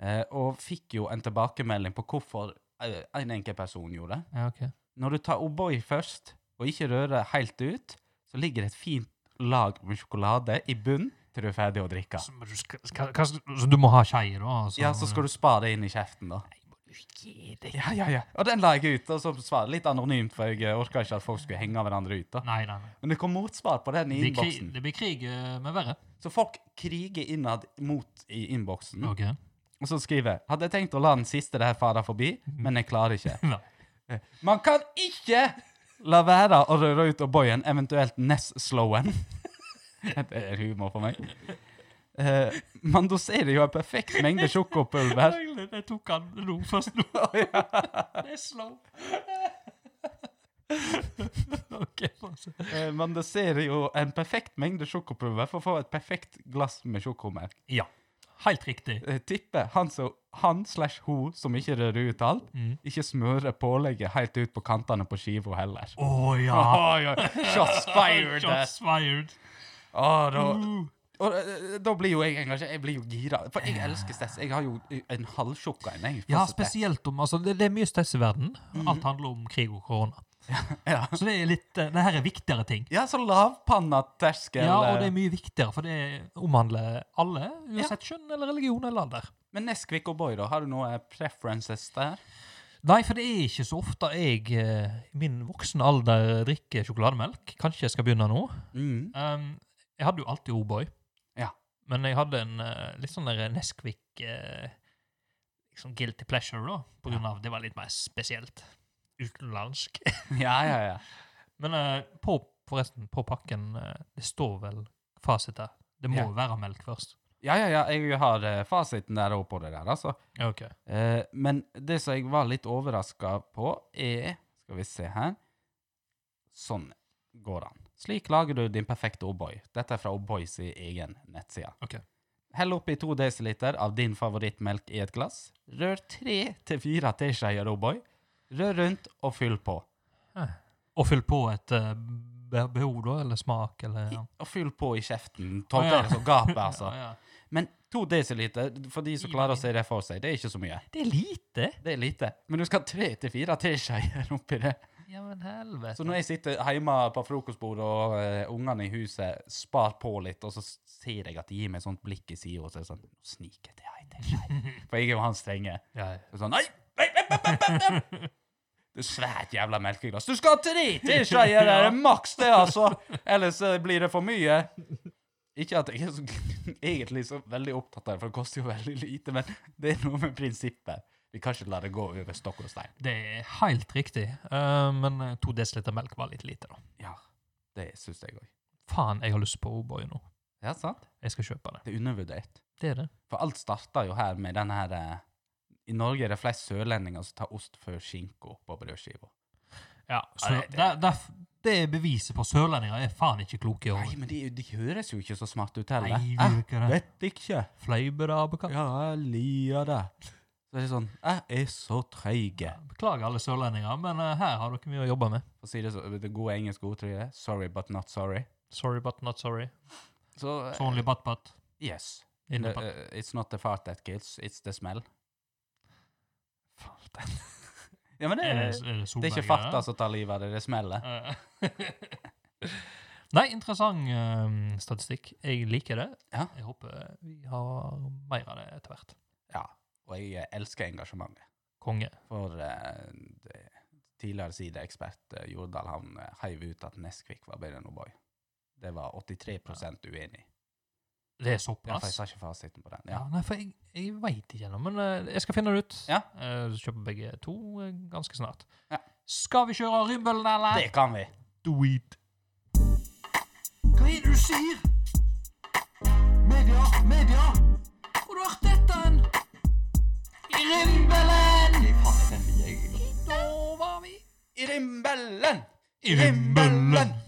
S1: Eh, og fikk jo en tilbakemelding på hvorfor eh, en enkelt person gjorde det.
S2: Ja, ok.
S1: Når du tar O'boy først, og ikke rører helt ut, så ligger det et fint lag med sjokolade i bunn til du er ferdig å drikke.
S2: Så, men du skal, skal, hva skal- så du må ha skje, da? altså?
S1: Ja, så skal du spa det inn i kjeften, da.
S2: Gi deg.
S1: Ja, ja, ja. Og den la jeg ut, og så svar litt anonymt, for jeg orka ikke at folk skulle henge hverandre ut. da.
S2: Nei, nei, nei.
S1: Men det kom motsvar på den i
S2: Det blir krig,
S1: innboksen.
S2: det blir krig eh, med verre.
S1: Så folk kriger innad mot i innboksen.
S2: Ok.
S1: Og så skriver jeg Hadde jeg tenkt å la den siste det her fare forbi, men jeg klarer ikke. Eh,
S2: Nei.
S1: Man kan ikke la være å røre ut O'boyen, eventuelt Ness-slowen. Det er humor for meg. Eh, man doserer jo en perfekt mengde sjokopulver.
S2: Det tok han nå, først nå. Det er slow. ok, altså.
S1: Eh, man doserer jo en perfekt mengde sjokopulver for å få et perfekt glass med sjokomelk.
S2: Ja. Helt riktig.
S1: Eh, tipper han som- han slash ho som ikke rører ut alt,
S2: Mm.
S1: ikke smører pålegget helt ut på kantene på skiva heller.
S2: Å ja.
S1: Oi, oi. Shots fired!
S2: Shots fired.
S1: Å, da,
S2: Uh.
S1: Og eh, da blir jo jeg engasjert. Jeg blir jo gira. For jeg elsker Stess. Jeg har jo en halvsjokka en. jeg, for
S2: Ja,
S1: Stess.
S2: spesielt om altså, det, det er mye stress i verden. Alt handler om krig og korona.
S1: Mm. Ja.
S2: Så det er litt eh, Det her er viktigere ting.
S1: Ja, så lavpanna terskel.
S2: Ja, og det
S1: eh,
S2: er mye viktigere, for det omhandler alle, uansett kjønn eller religion eller alder.
S1: Men Nesquik og Boy, da? Har du noen preferences der?
S2: Nei, for det er ikke så ofte jeg eh, i min voksne alder drikker sjokolademelk. Kanskje jeg skal begynne nå.
S1: Mm.
S2: Um, jeg hadde jo alltid O'boy.
S1: Ja.
S2: Men jeg hadde en eh, litt sånn der Nesquik eh, liksom guilty pleasure, da. På grunn av det var litt mer spesielt. Utenlandsk.
S1: Ja, ja, ja.
S2: Men eh, på, forresten, på pakken eh, Det står vel fasit der. Det må
S1: Ja.
S2: jo være melk først.
S1: Ja, ja, ja, jeg har eh, fasiten der òg på det der, altså.
S2: Ok.
S1: Eh, men det som jeg var litt overraska på, er Skal vi se her. Sånn går han. Slik lager du din perfekte O'boy. Dette er fra O'boy sin egen nettside.
S2: Ok.
S1: Hell oppi 2 dl av din favorittmelk i et glass. Rør 3-4 teskjeer O'boy. Rør rundt og fyll på.
S2: Og fyll på et eh, be- behov, da, eller smak, eller
S1: I,
S2: ja.
S1: og fyll på i kjeften.
S2: Å,
S1: Tolker
S2: ja.
S1: jeg det som gapet, altså.
S2: Ja, ja.
S1: Men 2 dl, for de som klarer å se det for seg, det er ikke så mye.
S2: Det er lite!
S1: Det er lite. Men du skal ha 3-4 teskjeer oppi det.
S2: Ja, men helvete.
S1: Så når jeg sitter hjemme på frokostbordet og eh, ungene i huset spar på litt, og så ser jeg at de gir meg et sånt blikk i sida, og så er det sånn Nå sniker jeg til hei, til hei. For jeg er jo han strenge.
S2: ja, ja.
S1: Så Sånn, nei, nei, nei, nei, nei, nei. Det er svært jævla melkeglass. Du skal til dit! Det er ikke det det er maks, det, altså. Ellers eh, blir det for mye. Ikke at jeg er så, egentlig så veldig opptatt av det, for det koster jo veldig lite, men det er noe med prinsippet. Vi kan ikke la det gå over stokk og stein.
S2: Det er helt riktig. Eh, men eh, to desiliter melk var litt lite, da.
S1: Ja, det syns jeg òg.
S2: Faen, jeg har lyst på O'boy nå.
S1: Ja, sant?
S2: Jeg skal kjøpe det.
S1: Det er undervurdert.
S2: Det er det.
S1: For alt starta jo her med den her eh, I Norge er det flest sørlendinger som tar ost før skinka på brødskiva.
S2: Ja, så
S1: Ja, det- det-
S2: der, der, det er beviset på at sørlendinger er faen ikke kloke i år.
S1: Nei, men de, de høres jo ikke så smarte ut
S2: Nei,
S1: heller.
S2: vi
S1: Eh,
S2: gjør ikke det.
S1: vet ikke.
S2: Fleiber da, beklager.
S1: Ja, jeg lier det. Så er det sånn Jeg er så treig.
S2: Beklager alle sørlendinger, men eh, her har dere mye å jobbe med.
S1: For å si det så, det gode engelske ordtrykket Sorry, but not sorry.
S2: Sorry but not sorry.
S1: Så eh,
S2: It's only but but.
S1: Yes.
S2: In the
S1: No,
S2: butt.
S1: eh, it's not the fart that kills, it's the smell. Ja, men det
S2: Er
S1: er,
S2: det,
S1: det
S2: er altså. det
S1: er ikke farta som tar livet av det, det er smellet.
S2: Nei, interessant eh, statistikk. Jeg liker det.
S1: Ja.
S2: Jeg håper vi har mer av det etter hvert.
S1: Ja. Og jeg eh, elsker engasjementet.
S2: Konge.
S1: For eh, det, tidligere sideekspert eh, Jordal han eh, heiv ut at Nesquik var bedre enn O'boy. Det var 83 uenig.
S2: Det er
S1: Ja, for jeg
S2: såpass.
S1: sa ikke fasiten på den.
S2: Ja,
S1: Ja.
S2: nei, for jeg, jeg veit ikke ennå, men eh, jeg skal finne det ut.
S1: Ja.
S2: Eh, så kjøper begge to eh, ganske snart.
S1: Ja.
S2: Skal vi kjøre Rymbelen, eller?
S1: Det kan vi!
S2: Do it.
S3: Hva er det du sier? Media, media! Hvor har du hørt dette? hen? I Rimbelen! Nei, faen, den vil jeg ikke.
S2: Da var vi
S1: I rimbellen!
S2: i
S1: I rimbellen!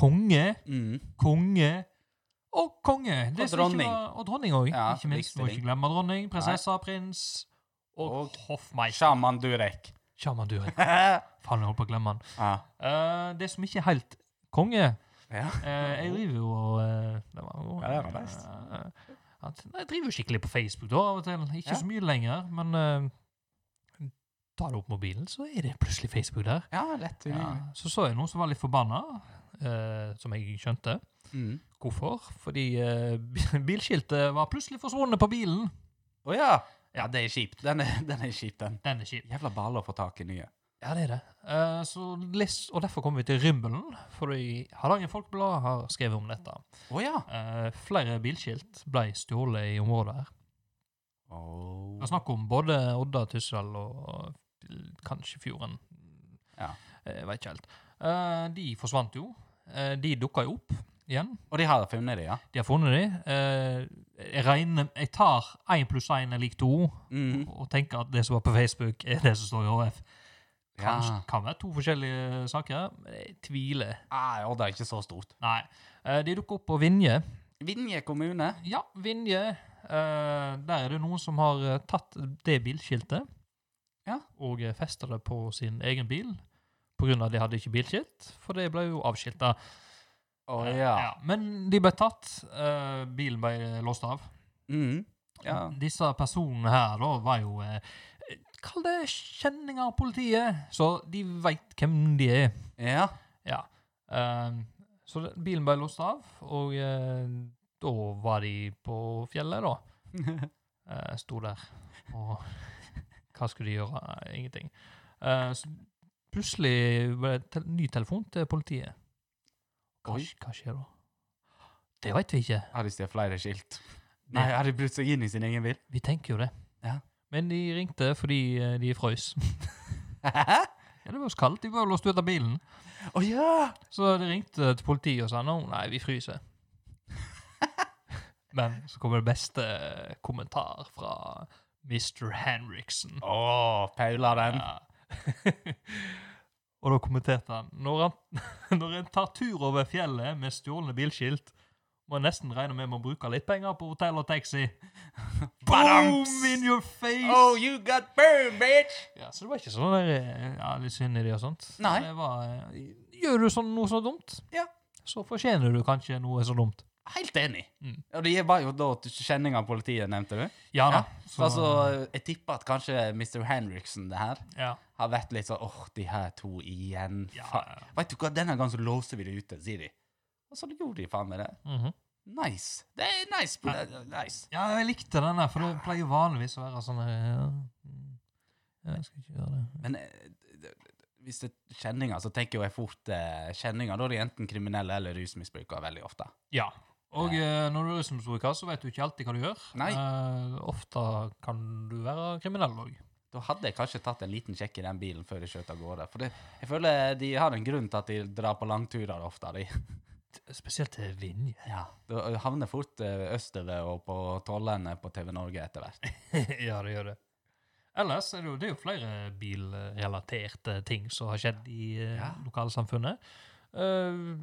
S2: Konge,
S1: Mm.
S2: konge og konge. Det
S1: Og
S2: som ikke
S1: dronning.
S2: Var, og dronning òg.
S1: Ja,
S2: ikke minst. Må
S1: likestilling.
S2: ikke glemme dronning, prinsesse, prins og,
S1: Og-
S2: hoffmeister.
S1: Shaman Durek.
S2: Sjaman Durek.
S1: ja.
S2: Faen, jeg holdt på å glemme han.
S1: ja.
S2: Eh, det som ikke er helt konge Eh, jeg driver jo og eh, Det var jo
S1: Mhm. Ja, det var best.
S2: eh, at, nei, Jeg driver jo skikkelig på Facebook da, av og til. Ikke
S1: Ja.
S2: så mye lenger, men eh, tar du opp mobilen, så er det plutselig Facebook der.
S1: Ja, lett
S2: Ja.
S1: tilgjengelig.
S2: Så så jeg noen som var litt forbanna, eh, som jeg skjønte.
S1: Mm.
S2: Hvorfor? Fordi eh, bi- bilskiltet var plutselig forsvunnet på bilen.
S1: Å ja. ja! Det er kjipt. Den er, den er kjip, den.
S2: Den er kjip.
S1: Jævla baller å få tak i nye.
S2: Ja, det er det. Eh, så les, og derfor kommer vi til Rymbelen, fordi Hardanger Folkeblad har skrevet om dette.
S1: Å ja!
S2: Eh, flere bilskilt ble stjålet i området her. Det er
S1: Oh.
S2: snakk om både Odda, Tussel og kanskje Fjorden.
S1: Ja.
S2: Jeg vet ikke helt. Eh, de forsvant jo. Eh, de dukka jo opp igjen.
S1: Og de har funnet det, ja?
S2: De har funnet de. Eh, jeg regner Jeg tar én pluss én er lik to,
S1: Mm.
S2: og tenker at det som var på Facebook, er det som står i HF. Kanskje,
S1: Ja.
S2: Kan være to forskjellige saker, men jeg tviler.
S1: Ah, og det er ikke så stort.
S2: Nei. Eh, de dukka opp på Vinje.
S1: Vinje kommune.
S2: Ja, Vinje. Eh, der er det noen som har eh, tatt det bilskiltet
S1: Ja.
S2: og eh, festa det på sin egen bil. På grunn av at de hadde ikke bilskilt, for det ble jo avskilta.
S1: Å
S2: Eh,
S1: ja.
S2: ja, Men de ble tatt. Eh, bilen ble låst av.
S1: Mm. ja.
S2: Disse personene her da var jo eh, Kall det kjenninger av politiet, så de veit hvem de er.
S1: Ja.
S2: Ja. Ehm, så det- bilen ble låst av, og eh, da var de på fjellet, da. Eh, sto der. Og hva skulle de gjøre? Nei, Ingenting. Eh, så plutselig var det tel- ny telefon til politiet. Hva,
S1: Oi.
S2: sk- hva skjer da? Det veit vi ikke.
S1: Har de stjålet flere skilt? Nei, har de brutt seg inn i sin egen bil?
S2: Vi tenker jo det.
S1: Ja.
S2: Men de ringte fordi eh, de frøs.
S1: Hæ?
S2: ja, det var jo så kaldt. De var jo låst ut av bilen.
S1: Å ja!
S2: Så de ringte eh, til politiet og sa nå, nei, vi fryser. Men så kommer det beste eh, kommentar fra Mr. Henriksen.
S1: Å, paula den.
S2: Ja. og da kommenterte han når, han når en tar tur over fjellet med stjålne bilskilt, må en nesten regne med å bruke litt penger på hotell og taxi. Boom
S1: Badams!
S2: in your face!
S1: Oh, you got burned, bitch!
S2: Ja, så det var ikke sånn der eh, ja, litt synd i det og sånt.
S1: Nei.
S2: Det var, eh, gjør du sånn, noe så dumt,
S1: Ja.
S2: så fortjener du kanskje noe så dumt.
S1: Helt enig.
S2: Mm.
S1: Og det var jo da til kjenning av politiet, nevnte du.
S2: Ja da. Så,
S1: altså, jeg tipper at kanskje Mr. Henriksen det her
S2: ja.
S1: har vært litt sånn åh, de her to igjen.
S2: Ja,
S1: Faen.
S2: ja.
S1: Vet du hva, denne gangen så låser vi det ute, sier de. Og så gjorde de faen meg det.
S2: Mhm.
S1: Nice. Det er nice. pl- nice.
S2: Ja, jeg likte den der, for det pleier vanligvis å være sånn her, ja. mm, ja, Jeg skal ikke gjøre det.
S1: Men eh, d- d- d- hvis det er kjenninger, så tenker jo jeg fort eh, kjenninger. Da er de enten kriminelle eller rusmisbrukere veldig ofte.
S2: Ja. Og eh, når du er rusmisbruker, så vet du ikke alltid hva du gjør.
S1: Nei.
S2: Eh, ofte kan du være kriminell òg.
S1: Da hadde jeg kanskje tatt en liten sjekk i den bilen før de skjøt av gårde. For det, jeg føler eh, de har en grunn til at de drar på langturer ofte. De.
S2: Spesielt til Vinje.
S1: Ja, Du havner fort eh, østover og på tollene på TV Norge etter hvert.
S2: ja, det gjør det. Ellers er det jo, det er jo flere bilrelaterte ting som har skjedd i eh,
S1: Ja.
S2: lokalsamfunnet. Uh,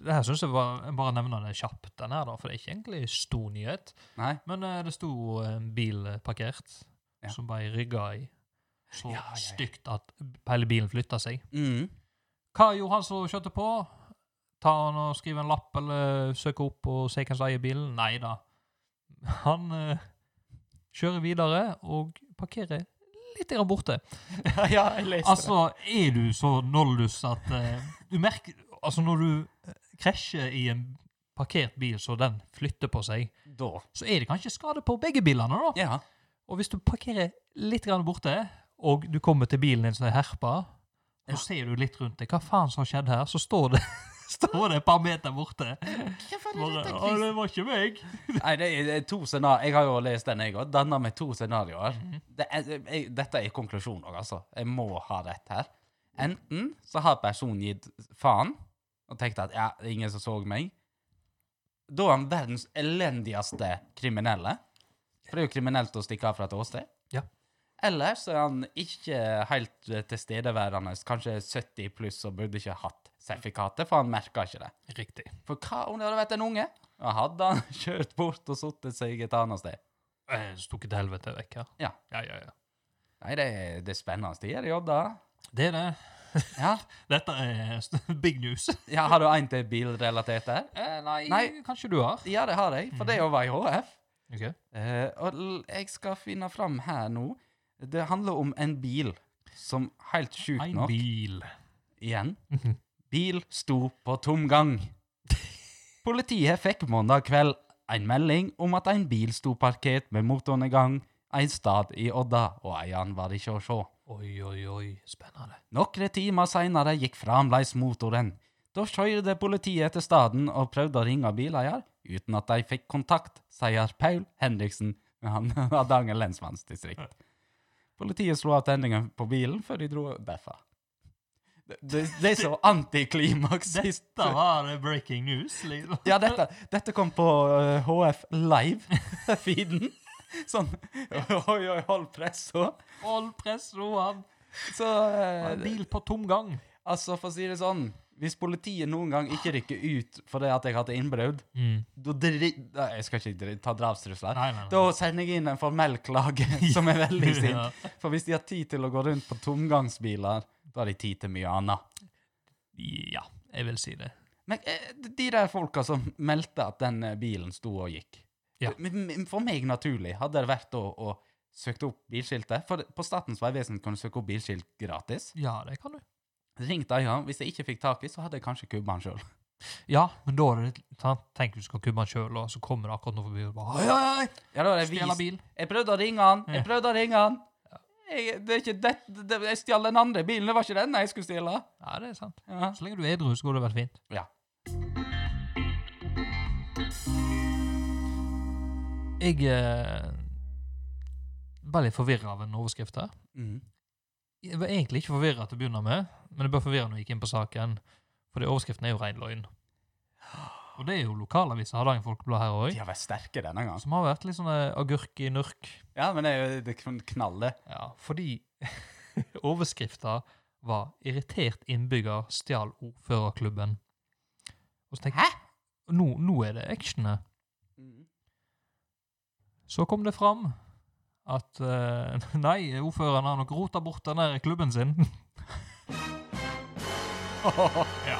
S2: det her synes jeg var, jeg bare nevner det kjapt, den her, da, for det er ikke egentlig stor nyhet.
S1: Nei?
S2: Men eh, det sto en bil eh, parkert,
S1: Ja.
S2: som ble rygga i så
S1: Ja, ja, ja.
S2: stygt at hele bilen flytta seg.
S1: Mm.
S2: Hva gjorde han som kjørte på? Ta han og Skrive en lapp eller søke opp og se hvem som eier bilen? Nei da. Han eh, kjører videre og parkerer litt grann borte.
S1: ja, jeg leste
S2: Altså, er du så nollus at eh, du merker Altså, når du eh, krasjer i en parkert bil så den flytter på seg,
S1: det. Da.
S2: så er det kanskje skade på begge bilene, da.
S1: Ja.
S2: Og hvis du parkerer litt grann borte, og du kommer til bilen din som er herpa, så ser du litt rundt deg. Hva faen som har skjedd her? Så står det, står det et par meter borte.
S1: Hvorfor
S2: Bare, Å, det var ikke meg.
S1: Nei, det er- det er to scenarioer. Jeg har jo lest den, jeg òg. Danna med to scenarioer. Det er, jeg, dette er konklusjonen òg, altså. Jeg må ha rett her. Enten så har personen gitt faen og tenkt at ja, det er ingen som så meg. Da er han verdens elendigste kriminelle. For det er jo kriminelt å stikke av fra et åsted.
S2: Ja.
S1: Eller så er han ikke helt eh, tilstedeværende, kanskje 70 pluss og burde ikke hatt sertifikatet, for han merka ikke det.
S2: Riktig.
S1: For hva om det hadde vært en unge? Ja, hadde han kjørt bort og satt seg et annet sted?
S2: Eh, Så tok jeg til helvete vekk her.
S1: Ja.
S2: ja, ja. ja.
S1: Nei, det er, det er spennende tider i Odda.
S2: Det er det.
S1: Ja.
S2: Dette er st- big news.
S1: ja, har du en til bilrelatert der?
S2: nei,
S1: Nei.
S2: kanskje du har.
S1: Ja, det har jeg, for det var i HF.
S2: Ok.
S1: Eh, og l- jeg skal finne fram her nå. Det handler om en bil som helt sjukt
S2: En
S1: nok
S2: bil.
S1: igjen.
S2: Mhm.
S1: Bil sto på tomgang. Politiet fikk mandag kveld en melding om at en bil sto parkert med motornedgang en stad i Odda, og eieren var ikke å se.
S2: Oi, oi, oi. Spennende.
S1: Nokre timer seinere gikk fremdeles motoren. Da kjørte politiet til staden og prøvde å ringe bileier, uten at de fikk kontakt, sier Paul Henriksen, han Hardanger lensmannsdistrikt. Politiet slo av tenningen på bilen før de dro derfra. Det, det, det er så antiklimaks.
S2: Dette var eh, breaking news. liksom.
S1: Ja, dette, dette kom på eh, HF Live-feeden. Sånn Oi, oi, hold pressa.
S2: Hold press, Roan.
S1: Så eh,
S2: En bil på tomgang.
S1: Altså, for å si det sånn, hvis politiet noen gang ikke rykker ut fordi at jeg hadde innbrudd,
S2: Mm.
S1: da dri... Nei, Jeg skal ikke dri- ta drapstrusler.
S2: Nei, nei, nei.
S1: Da sender jeg inn en formell klage som er veldig
S2: Ja.
S1: sint. For hvis de har tid til å gå rundt på tomgangsbiler, da har de tid til mye annet.
S2: Ja, jeg vil si det.
S1: Men eh, de der folka som meldte at den eh, bilen sto og gikk
S2: Ja.
S1: Men- men For meg naturlig hadde det vært å, å søke opp bilskiltet. For på Statens vegvesen kan du søke opp bilskilt gratis.
S2: Ja, det kan du.
S1: Ringte jeg han. Hvis jeg ikke fikk tak i, så hadde jeg kanskje kubba han sjøl.
S2: Ja, men da er det litt sant? Tenk du skal kubbe den sjøl, og så kommer det akkurat noe forbi og bare «Oi, oi, oi,
S1: Ja, da var det
S2: Stjela
S1: vis-
S2: bil.
S1: Jeg prøvde å ringe han, jeg prøvde å ringe han. Jeg, det er ikke det, det, jeg stjal den andre bilen, det var ikke den jeg skulle stjele.
S2: Ja, det er sant.
S1: Ja.
S2: Så lenge du er edru, så går det vært fint.
S1: ja.
S2: Jeg eh, ble litt forvirra av en overskrift her.
S1: Mhm.
S2: Jeg var egentlig ikke forvirra til å begynne med, men jeg ble forvirra når jeg gikk inn på saken. Fordi overskriften er jo rein løgn. Og det er jo lokalavisa Hardanger Folkeblad her
S1: De
S2: òg,
S1: har vært sterke denne gangen.
S2: som har vært litt sånn eh, agurk i nurk.
S1: Ja, men det, er jo- det kan knalle.
S2: Ja, fordi overskrifta var 'Irritert innbygger stjal ordførerklubben'. Og så tenkte jeg nå, nå er det action her.
S1: Mm.
S2: Så kom det fram at eh, nei, ordføreren har nok rota bort den der klubben sin. ja.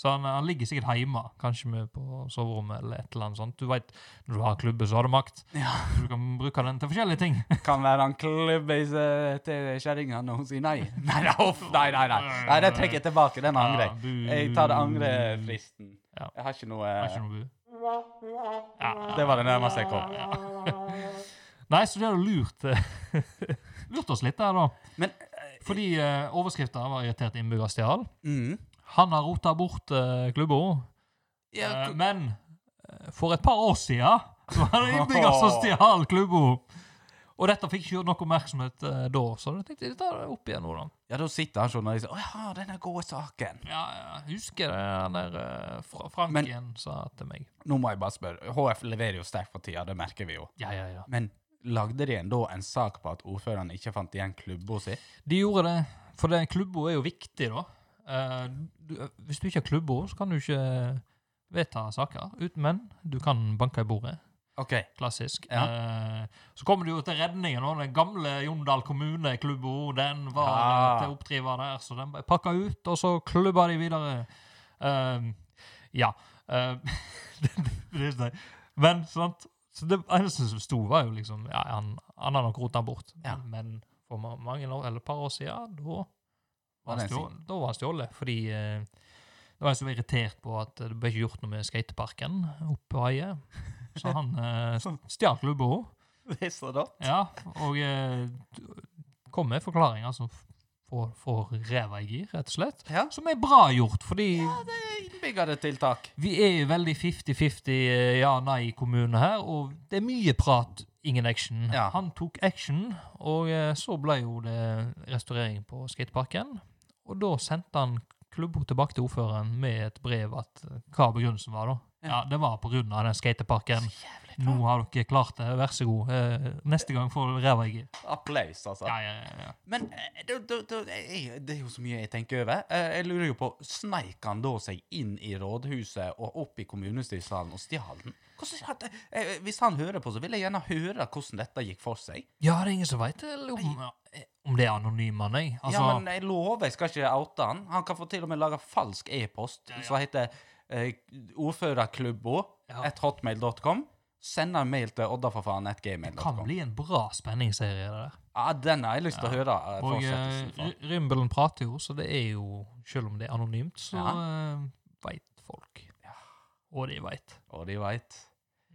S2: Så han, han ligger sikkert hjemme, kanskje med på soverommet eller et eller annet sånt. Du vet, når du har klubbe, så har du makt.
S1: Ja.
S2: Så du kan bruke den til forskjellige ting.
S1: Kan være han klubber seg til kjerringa når hun sier nei. Nei, nei, uff, nei, nei, nei. nei det trekker jeg tilbake. Den angrer jeg.
S2: Ja, bu-
S1: Jeg tar det angrefristen.
S2: Ja.
S1: Jeg har ikke noe
S2: Har ikke noe bu. Ja.
S1: Det var det nærmeste jeg kom.
S2: Nei, så det er jo lurt eh, Lurt oss litt der, da.
S1: Men
S2: Fordi eh, overskriften var 'Irritert innbygger stjal'.
S1: mm.
S2: Han har rota bort eh, klubben.
S1: ja,
S2: Eh,
S1: k-
S2: men eh, for et par år siden så var det innbygger som stjal klubben. Og dette fikk ikke nok oppmerksomhet eh, da, så jeg tenkte jeg tar det opp igjen nå, da.
S1: ja, da sitter han journalist og ja, denne gode saken.
S2: Ja, jeg husker det han der eh, fra Franken sa til meg.
S1: Nå må jeg bare spørre. HF leverer jo sterkt for tida, det merker vi jo.
S2: Ja, ja, ja.
S1: Men lagde de en, da en sak på at ordføreren ikke fant igjen klubba si?
S2: De gjorde det, for det, klubba er jo viktig, da. Eh, du, hvis du ikke har klubba, så kan du ikke vedta saker. Ut, men du kan banke i bordet.
S1: OK.
S2: Klassisk. Eh, så kommer du jo til redningen. nå, Den gamle Jondal kommuneklubba, den var
S1: Ja.
S2: eh, til oppdriver der, så den ble pakka ut, og så klubba de videre. Eh, ja. eh, det, det, det, men, sant Så det eneste som sto, var jo liksom ja, Han, han har nok rota bort.
S1: Ja.
S2: Men for ma- mange år, eller et par år siden, da
S1: Var
S2: var han
S1: det en
S2: stjålet. Da var han stjålet, fordi eh, det var en som var irritert på at det ble ikke gjort noe med skateparken oppe på Heie. Så han eh, stjal klubba òg.
S1: Visste du det?
S2: Ja, og eh, kom med forklaringer som f- får, får ræva i gir, rett og slett.
S1: Ja.
S2: Som er bra gjort, fordi
S1: Det er innbyggertiltak.
S2: vi er jo veldig 50-50 eh, ja-nei-kommune her, og det er mye prat, ingen action.
S1: Ja.
S2: Han tok action, og eh, så ble jo det restaurering på skateparken. Og da sendte han klubben tilbake til ordføreren med et brev at eh, hva begrunnelsen var, da.
S1: Ja.
S2: Ja, det var på grunn av den skateparken. Nå har dere klart det, vær så god. Eh, Neste gang får dere ræva i gir.
S1: Applaus, altså.
S2: Ja, ja, ja, ja.
S1: Men eh, da- da- da- eh, det er jo så mye jeg tenker over. Eh, Jeg lurer jo på, Sneik han da seg inn i rådhuset og opp i kommunestyresalen og stjal den? Hvordan, hadde- eh, hvis han hører på, så vil jeg gjerne høre hvordan dette gikk for seg.
S2: ja, det er ingen som veit om, eh, om det er anonyme, nei. Altså,
S1: ja, men jeg lover, jeg skal ikke oute han. Han kan få til og med lage falsk e-post
S2: ja.
S1: som heter eh, ordførerklubbo,
S2: Ja.
S1: at hotmail.com. Send en mail til
S2: kan
S1: oddaforfaen.gmail.com.
S2: bli en bra spenningsserie, det der.
S1: Ja, den har jeg lyst til å høre eh,
S2: Og
S1: fortsettelsen fra.
S2: eh, Rimbelen prater jo, så det er jo Selv om det er anonymt, så eh, vet folk. Og de veit.
S1: Og de veit.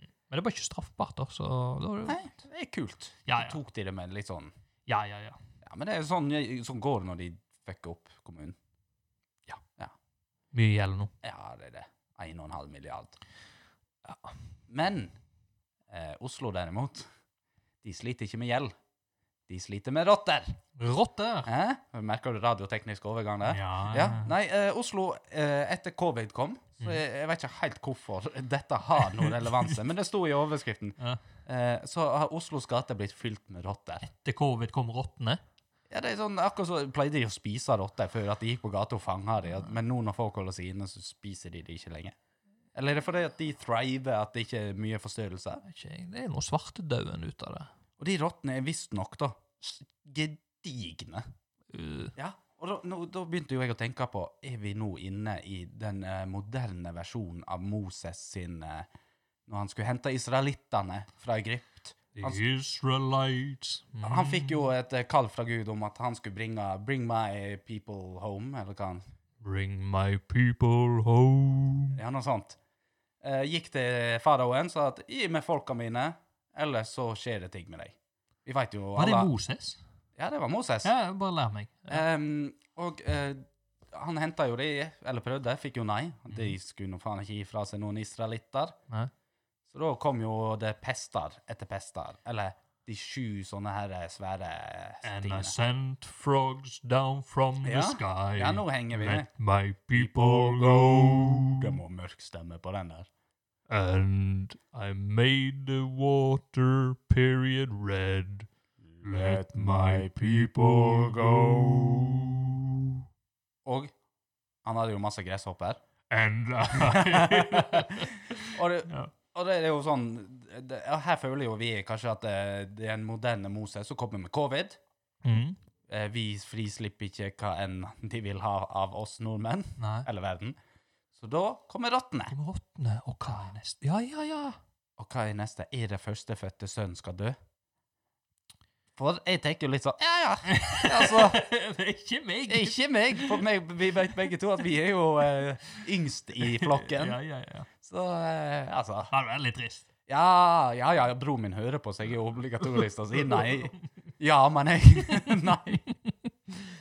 S2: Men det var ikke straffbart, da. Så da var det,
S1: Nei, det er kult. Så
S2: Ja, ja.
S1: tok de det med litt sånn
S2: ja, ja, ja.
S1: Ja, men det er jo sånn, sånn går det når de fucker opp kommunen.
S2: Mye gjelder nå.
S1: Ja, det er det. 1,5 milliard.
S2: Ja.
S1: Men eh, Oslo derimot, de sliter ikke med gjeld. De sliter med rotter.
S2: Rotter!
S1: Hæ? Merker du radioteknisk overgang der?
S2: Ja.
S1: Nei, eh, Oslo, eh, etter covid kom, så jeg, jeg vet ikke helt hvorfor dette har noen relevanse, men det sto i overskriften,
S2: Ja.
S1: eh, så har Oslos gater blitt fylt med rotter.
S2: Etter covid kom rottene.
S1: Ja, det er sånn, akkurat så pleide de å spise rotter før, at de gikk på gata og fanga dem, men nå når folk holder seg inne, så spiser de det ikke lenger. Eller er det fordi at de thriver, at det ikke er mye forstyrrelser?
S2: Vet ikke jeg, Det er noe svartedauden ut av det.
S1: Og de rottene er visstnok, da, s- gedigne.
S2: Uh,
S1: Ja, og da, nå, da begynte jo jeg å tenke på, er vi nå inne i den eh, moderne versjonen av Moses sin eh, Når han skulle hente israelittene fra Egypt?
S2: the
S1: Han-
S2: Israelites. Mm.
S1: Han fikk jo et eh, kall fra Gud om at han skulle bringe 'Bring my people home', eller hva han
S2: Bring my people home.
S1: Ja, noe sånt. Eh, gikk til faraoen sa at 'gi meg folka mine, ellers så skjer det ting med deg'. Vi veit jo
S2: Var det Moses?
S1: Ja, det var Moses.
S2: Ja, bare lær meg. Ja.
S1: Ehm, og eh, han henta jo de, eller prøvde, fikk jo nei.
S2: Mhm.
S1: De skulle nå faen ikke gi fra seg noen israelitter.
S2: Nei.
S1: Så da kom jo det pester etter pester, eller de sju sånne her svære
S2: And I
S1: tingene.
S2: sent frogs down from
S1: Ja.
S2: the sky.
S1: Ja, nå henger vi med.
S2: Let my people go.
S1: Det må mørk stemme på den der.
S2: And I made the water period red. Let my people go.
S1: Og han hadde jo masse gresshopper.
S2: And I...
S1: Og det,
S2: ja.
S1: Og det er jo sånn det, ja, Her føler jo vi kanskje at det, det er en moderne Moses som kommer med covid.
S2: Mm.
S1: Eh, vi frislipper ikke hva enn de vil ha av oss nordmenn,
S2: Nei.
S1: eller verden. Så da kommer rottene.
S2: Om rottene og hva er neste? Ja, ja, ja.
S1: Og hva er neste? Er det førstefødte sønnen skal dø? For jeg tenker jo litt sånn Ja, ja. Altså,
S2: det er ikke meg.
S1: ikke meg. For meg, vi vet begge to at vi er jo eh, yngst i flokken.
S2: Ja, ja, ja.
S1: Så eh, altså
S2: Det er veldig trist.
S1: Ja, ja, ja, broren min hører på, så jeg er jo obligatorisk til å si nei. Ja, men jeg Nei.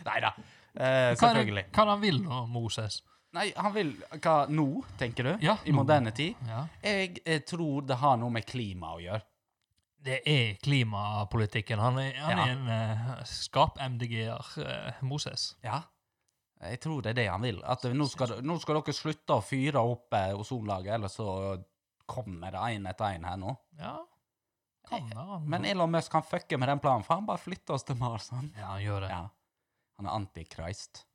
S1: Nei da. Eh,
S2: Hva er det-
S1: selvfølgelig.
S2: Hva er det han vil da, Moses?
S1: Nei, han vil Hva nå, tenker du?
S2: Ja,
S1: I
S2: nå.
S1: moderne tid?
S2: Ja.
S1: Jeg, eh, tror det har noe med klima å gjøre.
S2: Det er klimapolitikken. Han er, han
S1: Ja.
S2: er en eh, skap-MDG-er, eh, Moses.
S1: Ja. Jeg tror det er det han vil. At eh, nå skal, nå skal dere slutte å fyre opp eh, ozonlaget, ellers så kommer det én etter én her nå.
S2: Ja, kan være. han.
S1: Men Elon Musk kan fucke med den planen, for han bare flytter oss til Mars. Han,
S2: ja, han gjør det. Ja.
S1: ja. han er antikrist.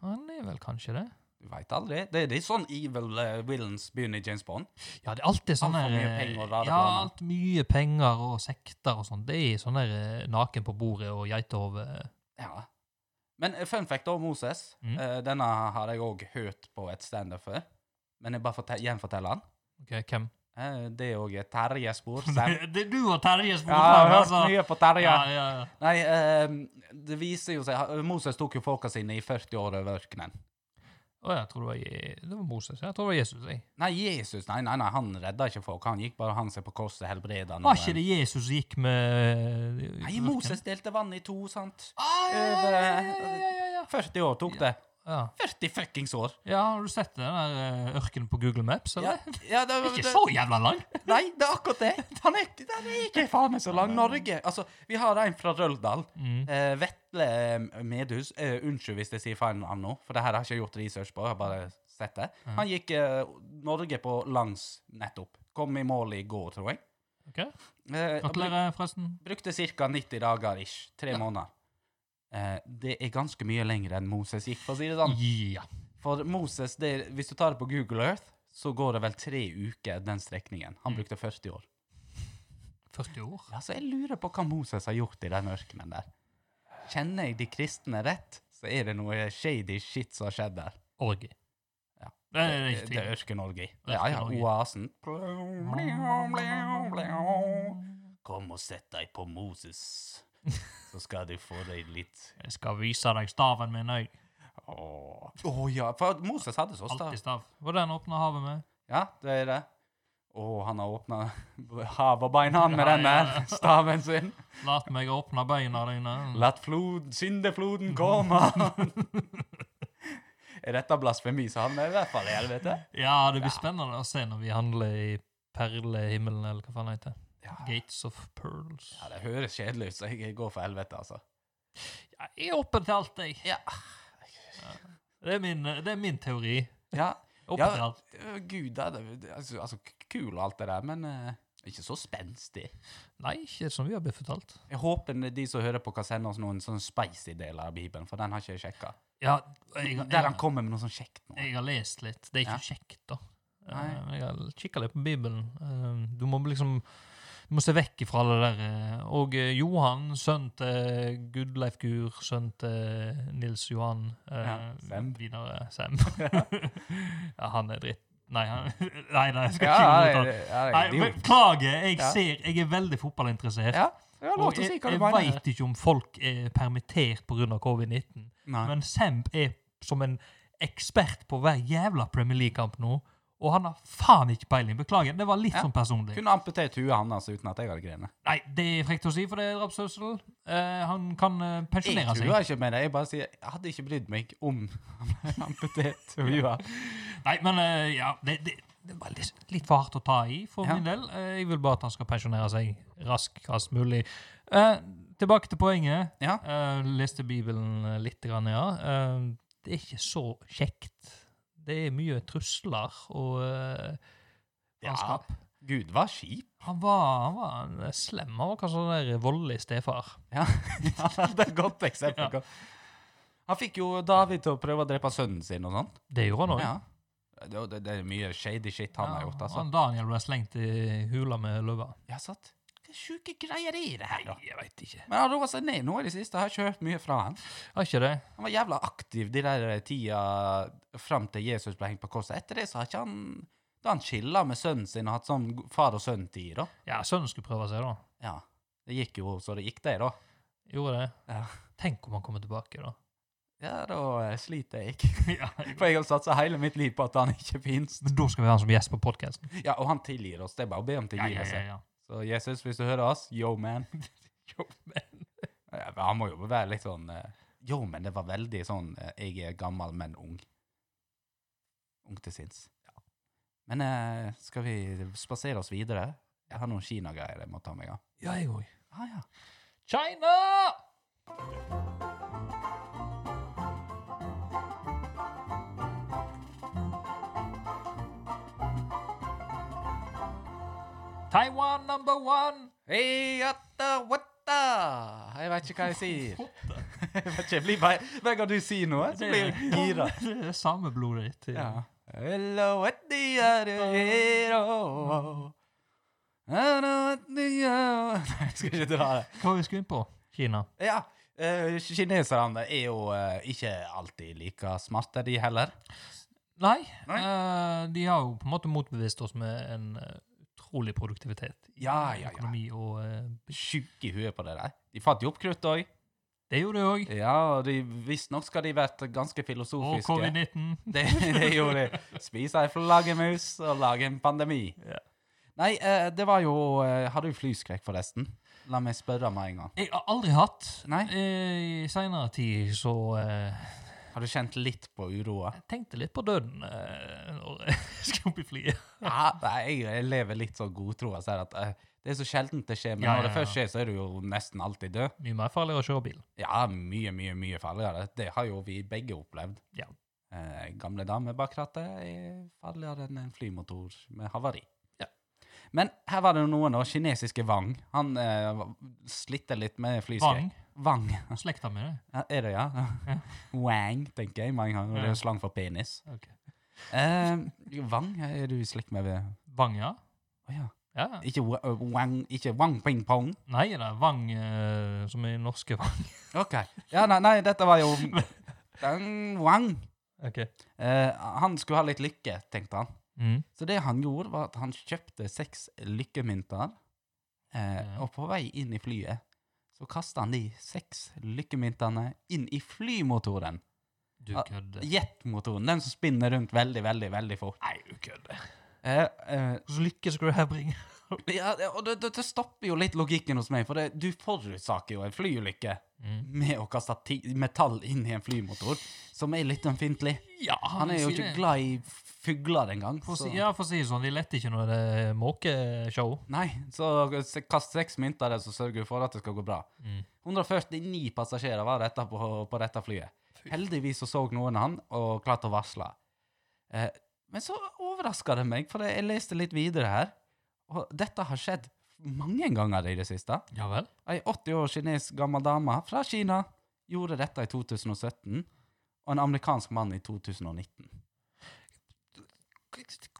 S2: han er vel kanskje det.
S1: Du veit aldri. Det, det er sånn evil eh, villains begynner i James Bond.
S2: Ja, det er alltid
S1: Alt for
S2: sånne
S1: mye penger og rare
S2: Ja,
S1: planer.
S2: alt mye penger og sekter og sånn. Det er sånne eh, naken på bordet og geitehove.
S1: Ja. Men eh, fun fact om Moses.
S2: Mm.
S1: eh, denne har jeg òg hørt på et standup før, men jeg bare fortel, gjenforteller den.
S2: Ok, hvem?
S1: Eh, det er òg et Terje-spor.
S2: Det
S1: Sam.
S2: det er du og Terje som
S1: Ja, jeg har
S2: ordfører,
S1: hørt mye på Terje.
S2: altså. Ja, ja, ja.
S1: Nei, eh, det viser jo seg ha- Moses tok jo folka sine i 40 år over ørkenen.
S2: Å, jeg tror det var, Je- det var Moses. Jeg tror det var Jesus. Jeg.
S1: Nei, Jesus, nei, nei, nei, han redda ikke folk. Han gikk bare han seg på korset, helbreda
S2: Var ikke det Jesus som gikk med
S1: Nei, Moses delte vann i to, sant?
S2: Ah, ja, ja,
S1: Over
S2: ja, ja, ja, ja, ja.
S1: 40 år tok det.
S2: ja.
S1: 40 fuckings år!
S2: Ja, har du sett den der eh, ørkenen på Google Maps,
S1: Ja,
S2: eller?
S1: ja, det,
S2: Ikke så jævla lang!
S1: Nei, det er akkurat det. Den er, den er ikke faen meg så lang. Norge Altså, vi har en fra Røldal.
S2: Mm.
S1: Eh, Vetle Medhus. Eh, unnskyld hvis jeg sier feil navn nå, for det her har jeg ikke gjort research på. Jeg har bare sett det. Han gikk eh, Norge på langs nettopp. Kom i mål i går, tror jeg.
S2: Ok,
S1: Eh,
S2: Gratulerer, forresten.
S1: bruk- Brukte ca. 90 dager ish. Tre måneder. Eh, det er ganske mye lenger enn Moses gikk, for å si det sånn.
S2: Ja.
S1: For Moses, det, er- hvis du tar det på Google Earth, så går det vel tre uker den strekningen.
S2: Mm.
S1: Han brukte 40 år.
S2: 40 år.
S1: Ja, så jeg lurer på hva Moses har gjort i den ørkenen der. Kjenner jeg de kristne rett, så er det noe shady shit som har skjedd der.
S2: Orgi.
S1: Ja.
S2: Det er
S1: Det,
S2: ikke
S1: det er
S2: tvil.
S1: Ørken-Norge. Ja, ja,
S2: Ørken-Norge.
S1: oasen. Kom og sett deg på Moses, så skal du få deg litt
S2: Jeg skal vise deg staven min òg.
S1: Å ja, for Moses hadde så stav.
S2: Alltid stav. Var den åpna havet med?
S1: Ja, det er det. Å, han har åpna hav og bein, han, med
S2: Ja,
S1: den
S2: ja,
S1: der staven sin.
S2: Lat meg åpne beina dine.
S1: Latt flod, syndefloden komme. er dette blasfemi, så havner jeg i hvert fall i helvete.
S2: Ja, det blir spennende å se når vi handler i perlehimmelen, eller hva faen det heter.
S1: Ja.
S2: Gates of Pearls.
S1: ja, det høres kjedelig ut, så jeg går for helvete, altså.
S2: Ja, Jeg er åpen til alt, jeg.
S1: Ja.
S2: Det er min, det er min teori.
S1: Ja, Ja.
S2: Åpen til alt.
S1: øh, gud, da, det, det, altså, altså, k- kul og alt det der, men eh, ikke så spenstig.
S2: Nei, ikke som vi har blitt fortalt.
S1: Jeg håper det er de som hører på, kan sende oss noen sånn spicy deler av Bibelen, for den har ikke jeg sjekka.
S2: Ja, jeg, jeg,
S1: Der han kommer med noe sånn kjekt nå.
S2: Jeg har lest litt. Det er ikke kjekt, da. Eh,
S1: Nei.
S2: men Jeg har kikka litt på Bibelen. Eh, Du må liksom du må se vekk ifra det der. eh, Og eh, Johan, sønnen til Gudleif Gur, sønnen til Nils Johan eh,
S1: Ja, Sem.
S2: Videre Sem. ja, han er dritt. Nei, han, nei, nei, jeg skal
S1: Ja,
S2: ikke
S1: ja, ja,
S2: uttale
S1: ja,
S2: Nei,
S1: idiot.
S2: Beklager, jeg
S1: Ja.
S2: ser Jeg er veldig fotballinteressert.
S1: ja, det er lov
S2: og
S1: til å
S2: jeg,
S1: si hva
S2: jeg
S1: du mener.
S2: veit ikke om folk er permittert pga. covid-19.
S1: Nei.
S2: Men Semb er som en ekspert på hver jævla Premier League-kamp nå, og han har faen ikke peiling. Beklager, det var litt
S1: Ja.
S2: sånn personlig.
S1: Kunne amputert huet hans uten at jeg hadde grenet.
S2: Nei, det er frekt å si, for det er drapsøssel. Eh, han kan eh,
S1: Jeg
S2: pensjonere seg.
S1: truer ikke med det. Jeg bare sier jeg hadde ikke brydd meg om han ble amputert. og vi var-
S2: Nei, men eh, ja, det, det, det var litt, litt for hardt å ta i for
S1: Ja.
S2: min del. Eh, jeg vil bare at han skal pensjonere seg raskest mulig. Eh, tilbake til poenget.
S1: Ja.
S2: Eh, leste Bibelen eh, litt, grann, ja. Eh, det er ikke så kjekt. Det er mye trusler og eh,
S1: Ja.
S2: faenskap.
S1: Gud var kjip.
S2: Han var, han var en slem. Han var kanskje en der voldelig stefar.
S1: Ja. ja, det er et godt eksempel. Han fikk jo David til å prøve å drepe sønnen sin og sånn.
S2: Det gjorde han òg.
S1: Ja. Det, det, det er mye shady shit han har gjort, altså.
S2: Han Daniel ble slengt i hula med løva.
S1: Ja, sant? Hva sjuke greier er det her, da?
S2: Jeg veit ikke.
S1: Men han roa seg ned nå i det siste. Jeg har ikke hørt mye fra han.
S2: Har ikke det?
S1: Han var jævla aktiv de der eh, tida fram til Jesus ble hengt på korset. Etter det så har ikke han Da har han chilla med sønnen sin og hatt sånn far og sønn-tid, da.
S2: Ja, sønnen skulle prøve seg, da.
S1: Ja. Det gikk jo så det gikk, det, da.
S2: Gjorde det.
S1: Ja.
S2: Tenk om han kommer tilbake, da.
S1: Ja, da eh, sliter jeg.
S2: ja.
S1: For jeg har satsa hele mitt liv på at han ikke fins.
S2: Men da skal vi ha han som gjest på podkasten.
S1: Ja, og han tilgir oss. Det er bare å be om
S2: Ja, ja,
S1: tilgivelse.
S2: ja, ja.
S1: Så Jesus, hvis du hører oss, yo, man.
S2: Jo, men-
S1: Ja, men han må jo være litt sånn eh, Yo, men det var veldig sånn eh, Jeg er gammel, men ung. Ung til sinns. Men eh, skal vi spasere oss videre? Jeg har noen kinagreier jeg må ta meg av.
S2: Ja, jeg òg.
S1: Ah, ja.
S2: China! Taiwan number one!
S1: Hei, atta, watta! Jeg vet ikke hva jeg sier. jeg vet ikke, jeg blir bare, Hver gang du sier noe, så blir jeg gira.
S2: Det er sameblodet ditt.
S1: Ja. Hello, what do you do here? Oh, oh. Hello, what do you do? Nei, jeg skal ikke dra det.
S2: Hva vi skulle inn på? Kina.
S1: Ja, eh, kineserne er jo eh, ikke alltid like smarte, de heller.
S2: Nei,
S1: Nei.
S2: eh, de har jo på en måte motbevist oss med en eh, utrolig produktivitet i
S1: Ja, ja, ja.
S2: økonomi og eh,
S1: Sjuke i huet på det der. De fant jo opp krutt òg.
S2: Det gjorde de òg.
S1: Ja, og de- visstnok skal de vært ganske
S2: Og
S1: filosofiske.
S2: covid-19.
S1: det, det gjorde de. Spise ei flaggermus og lage en pandemi.
S2: Ja.
S1: Nei, eh, det var jo eh, Har du flyskrekk, forresten? La meg spørre med en gang.
S2: Jeg har aldri hatt.
S1: Nei.
S2: Eh, I seinere tid så eh,
S1: Har du kjent litt på uroa?
S2: Jeg tenkte litt på døden eh, når jeg skulle opp i flyet.
S1: Ja, nei, jeg, jeg lever litt sånn godtroa. Så at eh, det er så sjeldent det skjer, men
S2: Ja,
S1: når
S2: ja,
S1: det
S2: ja.
S1: først skjer, så er du jo nesten alltid død.
S2: Mye mer farligere å kjøre bil.
S1: Ja, mye, mye, mye farligere. Det har jo vi begge opplevd.
S2: Ja.
S1: Eh, gamle dame bak rattet er farligere enn en flymotor med havari.
S2: Ja.
S1: Men her var det noen, da. Kinesiske Wang. Han eh, slitte litt med flyskrekk.
S2: Vang.
S1: Wang.
S2: Slekta mi, det.
S1: Ja, er det, ja?
S2: Ja.
S1: Wang, tenker jeg mange ganger. Det er
S2: Ja.
S1: jo slang for penis.
S2: Ok.
S1: Eh, Wang, er du i slekt med Å
S2: Vang, ja.
S1: ja.
S2: ja. ja.
S1: Ikke Wa- eh, Wang, ikke Wang Ping Pong.
S2: Nei det er Vang eh, som er norske Vang.
S1: OK. Ja, nei, nei dette var jo Deng Wang.
S2: Ok.
S1: Eh, han skulle ha litt lykke, tenkte han.
S2: Mm.
S1: Så det han gjorde, var at han kjøpte seks lykkemynter, eh,
S2: Ja.
S1: og på vei inn i flyet så kasta han de seks lykkemyntene inn i flymotoren.
S2: Du
S1: Ah,
S2: kødder.
S1: Jetmotoren, den som spinner rundt veldig, veldig veldig fort.
S2: Nei, du kødder.
S1: Eh, eh,
S2: Hvordan lykke skal du her bringe?
S1: ja, og det, det, det stopper jo litt logikken hos meg, for det, du forutsaker jo en flyulykke
S2: Mm.
S1: med å kaste ti metall inn i en flymotor, som er litt ømfintlig.
S2: Ja,
S1: Han er jo
S2: sier
S1: ikke
S2: det.
S1: glad i fugler engang.
S2: For å si,
S1: så-
S2: ja, for å si det sånn, de letter ikke når det er måkeshow.
S1: Nei, så se- kast seks mynter der, så sørger du for at det skal gå bra.
S2: Mm.
S1: 149 passasjerer var dette på, på dette flyet. Heldigvis så så noen han, og klarte å varsle. Eh, men så overraska det meg, for jeg leste litt videre her. Og dette har skjedd mange ganger i det siste.
S2: Ja vel?
S1: Ei 80 år kines gammel dame fra Kina gjorde dette i 2017, og en amerikansk mann i 2019.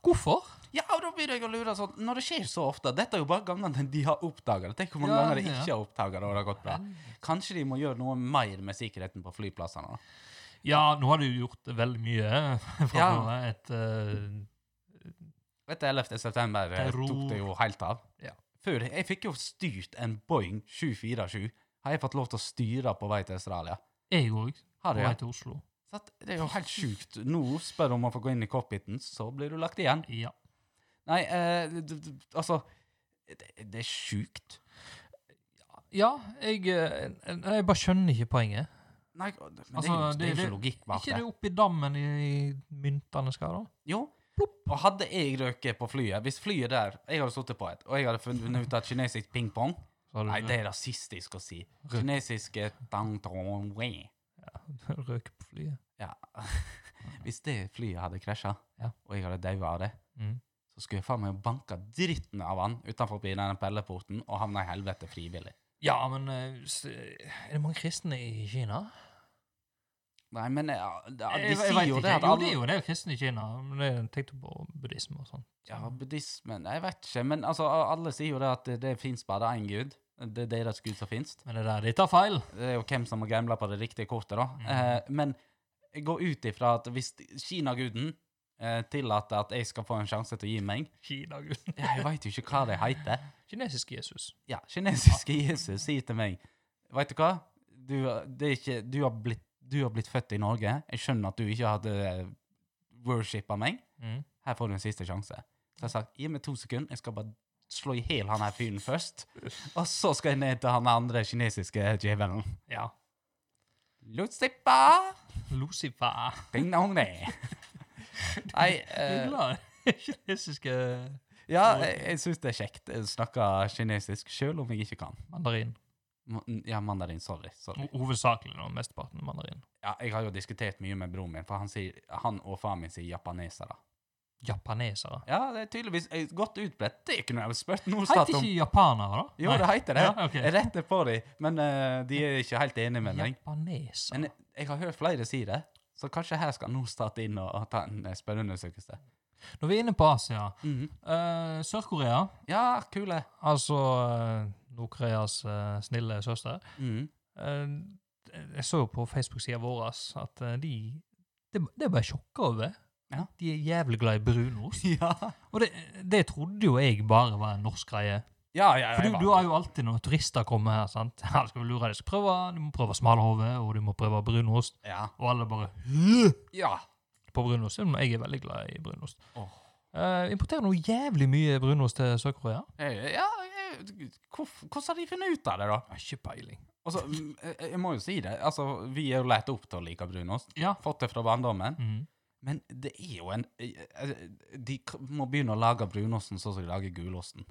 S2: Hvorfor?
S1: Ja, og da begynner jeg å lure sånn, Når det skjer så ofte Dette er jo bare gangene de har oppdaga det. Tenk hvor mange
S2: Ja,
S1: ganger de
S2: ja.
S1: ikke har oppdaga det, og det har gått bra. Kanskje de må gjøre noe mer med sikkerheten på flyplassene. da.
S2: Ja, nå har du gjort veldig mye eh, fra
S1: Ja.
S2: et eh,
S1: Etter 11. september eh,
S2: Terror.
S1: tok det jo helt av.
S2: Ja.
S1: Før, jeg fikk jo styrt en Boeing 747. Har jeg fått lov til å styre på vei til Australia?
S2: Jeg òg, på
S1: Har
S2: vei
S1: jeg?
S2: til Oslo.
S1: Så at det er jo helt sjukt. Nå spør du om å få gå inn i cockpiten, så blir du lagt igjen.
S2: Ja.
S1: Nei, eh, d- d- d- altså Det, det er sjukt.
S2: ja, jeg, eh, jeg bare skjønner ikke poenget.
S1: Nei, men det, er jo,
S2: Altså,
S1: det er jo
S2: det-
S1: ikke logikk bak
S2: Ikke
S1: det.
S2: det oppi dammen i, i myntene skal, da?
S1: Jo. Og hadde jeg røket på flyet Hvis flyet der Jeg hadde sittet på et, og jeg hadde funnet ut at kinesisk ping-pong
S2: Så har du
S1: Nei, det er rasistisk å si.
S2: Røk.
S1: Kinesisk eh, dang dong wei.
S2: røk på flyet.
S1: Ja. Hvis det flyet hadde krasja,
S2: Ja.
S1: og jeg hadde daua av det,
S2: Mm.
S1: så skulle jeg faen meg banka dritten av han utenfor denne pelleporten og havna i helvete frivillig.
S2: Ja, men eh, s- er det mange kristne i Kina?
S1: Nei, men ja, de,
S2: Jeg-
S1: de
S2: jeg vet
S1: sier jo
S2: ikke.
S1: det at
S2: Jo, det
S1: alle
S2: er jo en del kristne i Kina. Men det- jeg tenkte på buddhisme og sånn.
S1: Ja, buddhismen Jeg vet ikke, men altså, alle sier jo det at det, det fins bare én gud. Det er deres gud som fins.
S2: Men det der, de tar feil.
S1: Det er jo hvem som må gamble på det riktige kortet, da. Eh, men jeg går ut ifra at hvis Kinaguden eh, tillater at jeg skal få en sjanse til å gi meg
S2: Kina, gud.
S1: ja, Jeg veit jo ikke hva det heter.
S2: Kinesisk Jesus.
S1: Ja, kinesiske Jesus sier til meg Veit du hva? Du, det er ikke, du har blitt Du har blitt født i Norge. Jeg skjønner at du ikke hadde worshipa meg.
S2: Mm.
S1: Her får du en siste sjanse. Så jeg sa gi meg to sekunder, jeg skal bare slå i hjel han her fyren først. Og så skal jeg ned til han andre kinesiske djevelen.
S2: Ja.
S1: Lucipa!
S2: Lucifer.
S1: Ding dong, det. Nei
S2: Jeg
S1: eh,
S2: er glad i kinesiske
S1: Ja, jeg, jeg syns det er kjekt. Jeg snakker kinesisk sjøl om jeg ikke kan.
S2: mandarin.
S1: Ma- Ja, mandarin. Sorry. sorry.
S2: Ho- Hovedsakelig da, mesteparten mandarin.
S1: Ja, jeg har jo diskutert mye med broren min, for han, sier, han og faren min sier japanesere.
S2: Japanesere.
S1: Ja, det er tydeligvis eh, godt utbredt. Det kunne jeg jo spurt noe
S2: Heter
S1: stat om.
S2: ikke japanere, da?
S1: Jo, det heter det.
S2: Ja, ok.
S1: Jeg retter på dem, men eh, de er ikke helt enige med meg.
S2: Japaneser.
S1: Men jeg, jeg har hørt flere si det, så kanskje her skal Norstat inn og, og ta en eh, spørreundersøkelse.
S2: Når vi er inne på Asia
S1: Mhm.
S2: eh, Sør-Korea,
S1: Ja, kule.
S2: altså eh, Nord-Koreas eh, snille søster
S1: Mhm.
S2: Eh, Jeg så jo på Facebook-sida vår at eh, de Det, det er bare sjokka over.
S1: Ja.
S2: De er jævlig glad i brunost.
S1: Ja.
S2: Og det, det trodde jo jeg bare var en norsk greie.
S1: Ja, ja,
S2: For
S1: jeg
S2: du,
S1: var-
S2: du har jo alltid når turister kommer her, sant Ja, skal vi lure deg, skal prøve, Du må prøve smalahove, og du må prøve brunost.
S1: ja.
S2: Og alle bare
S1: ja.
S2: på brunost. selv om Jeg er veldig glad i brunost.
S1: Åh.
S2: Eh, importerer noe jævlig mye brunost til Sør-Korea.
S1: Eh, ja eh, hvorf- Hvordan har de funnet ut av det, da?
S2: Har Ikke peiling.
S1: Altså, mm, eh, jeg må jo si det. Altså, vi er jo lært opp til å like brunost.
S2: Ja.
S1: Fått det fra barndommen.
S2: Mhm.
S1: Men det er jo en eh, eh, De k- må begynne å lage brunosten sånn som de lager gulosten.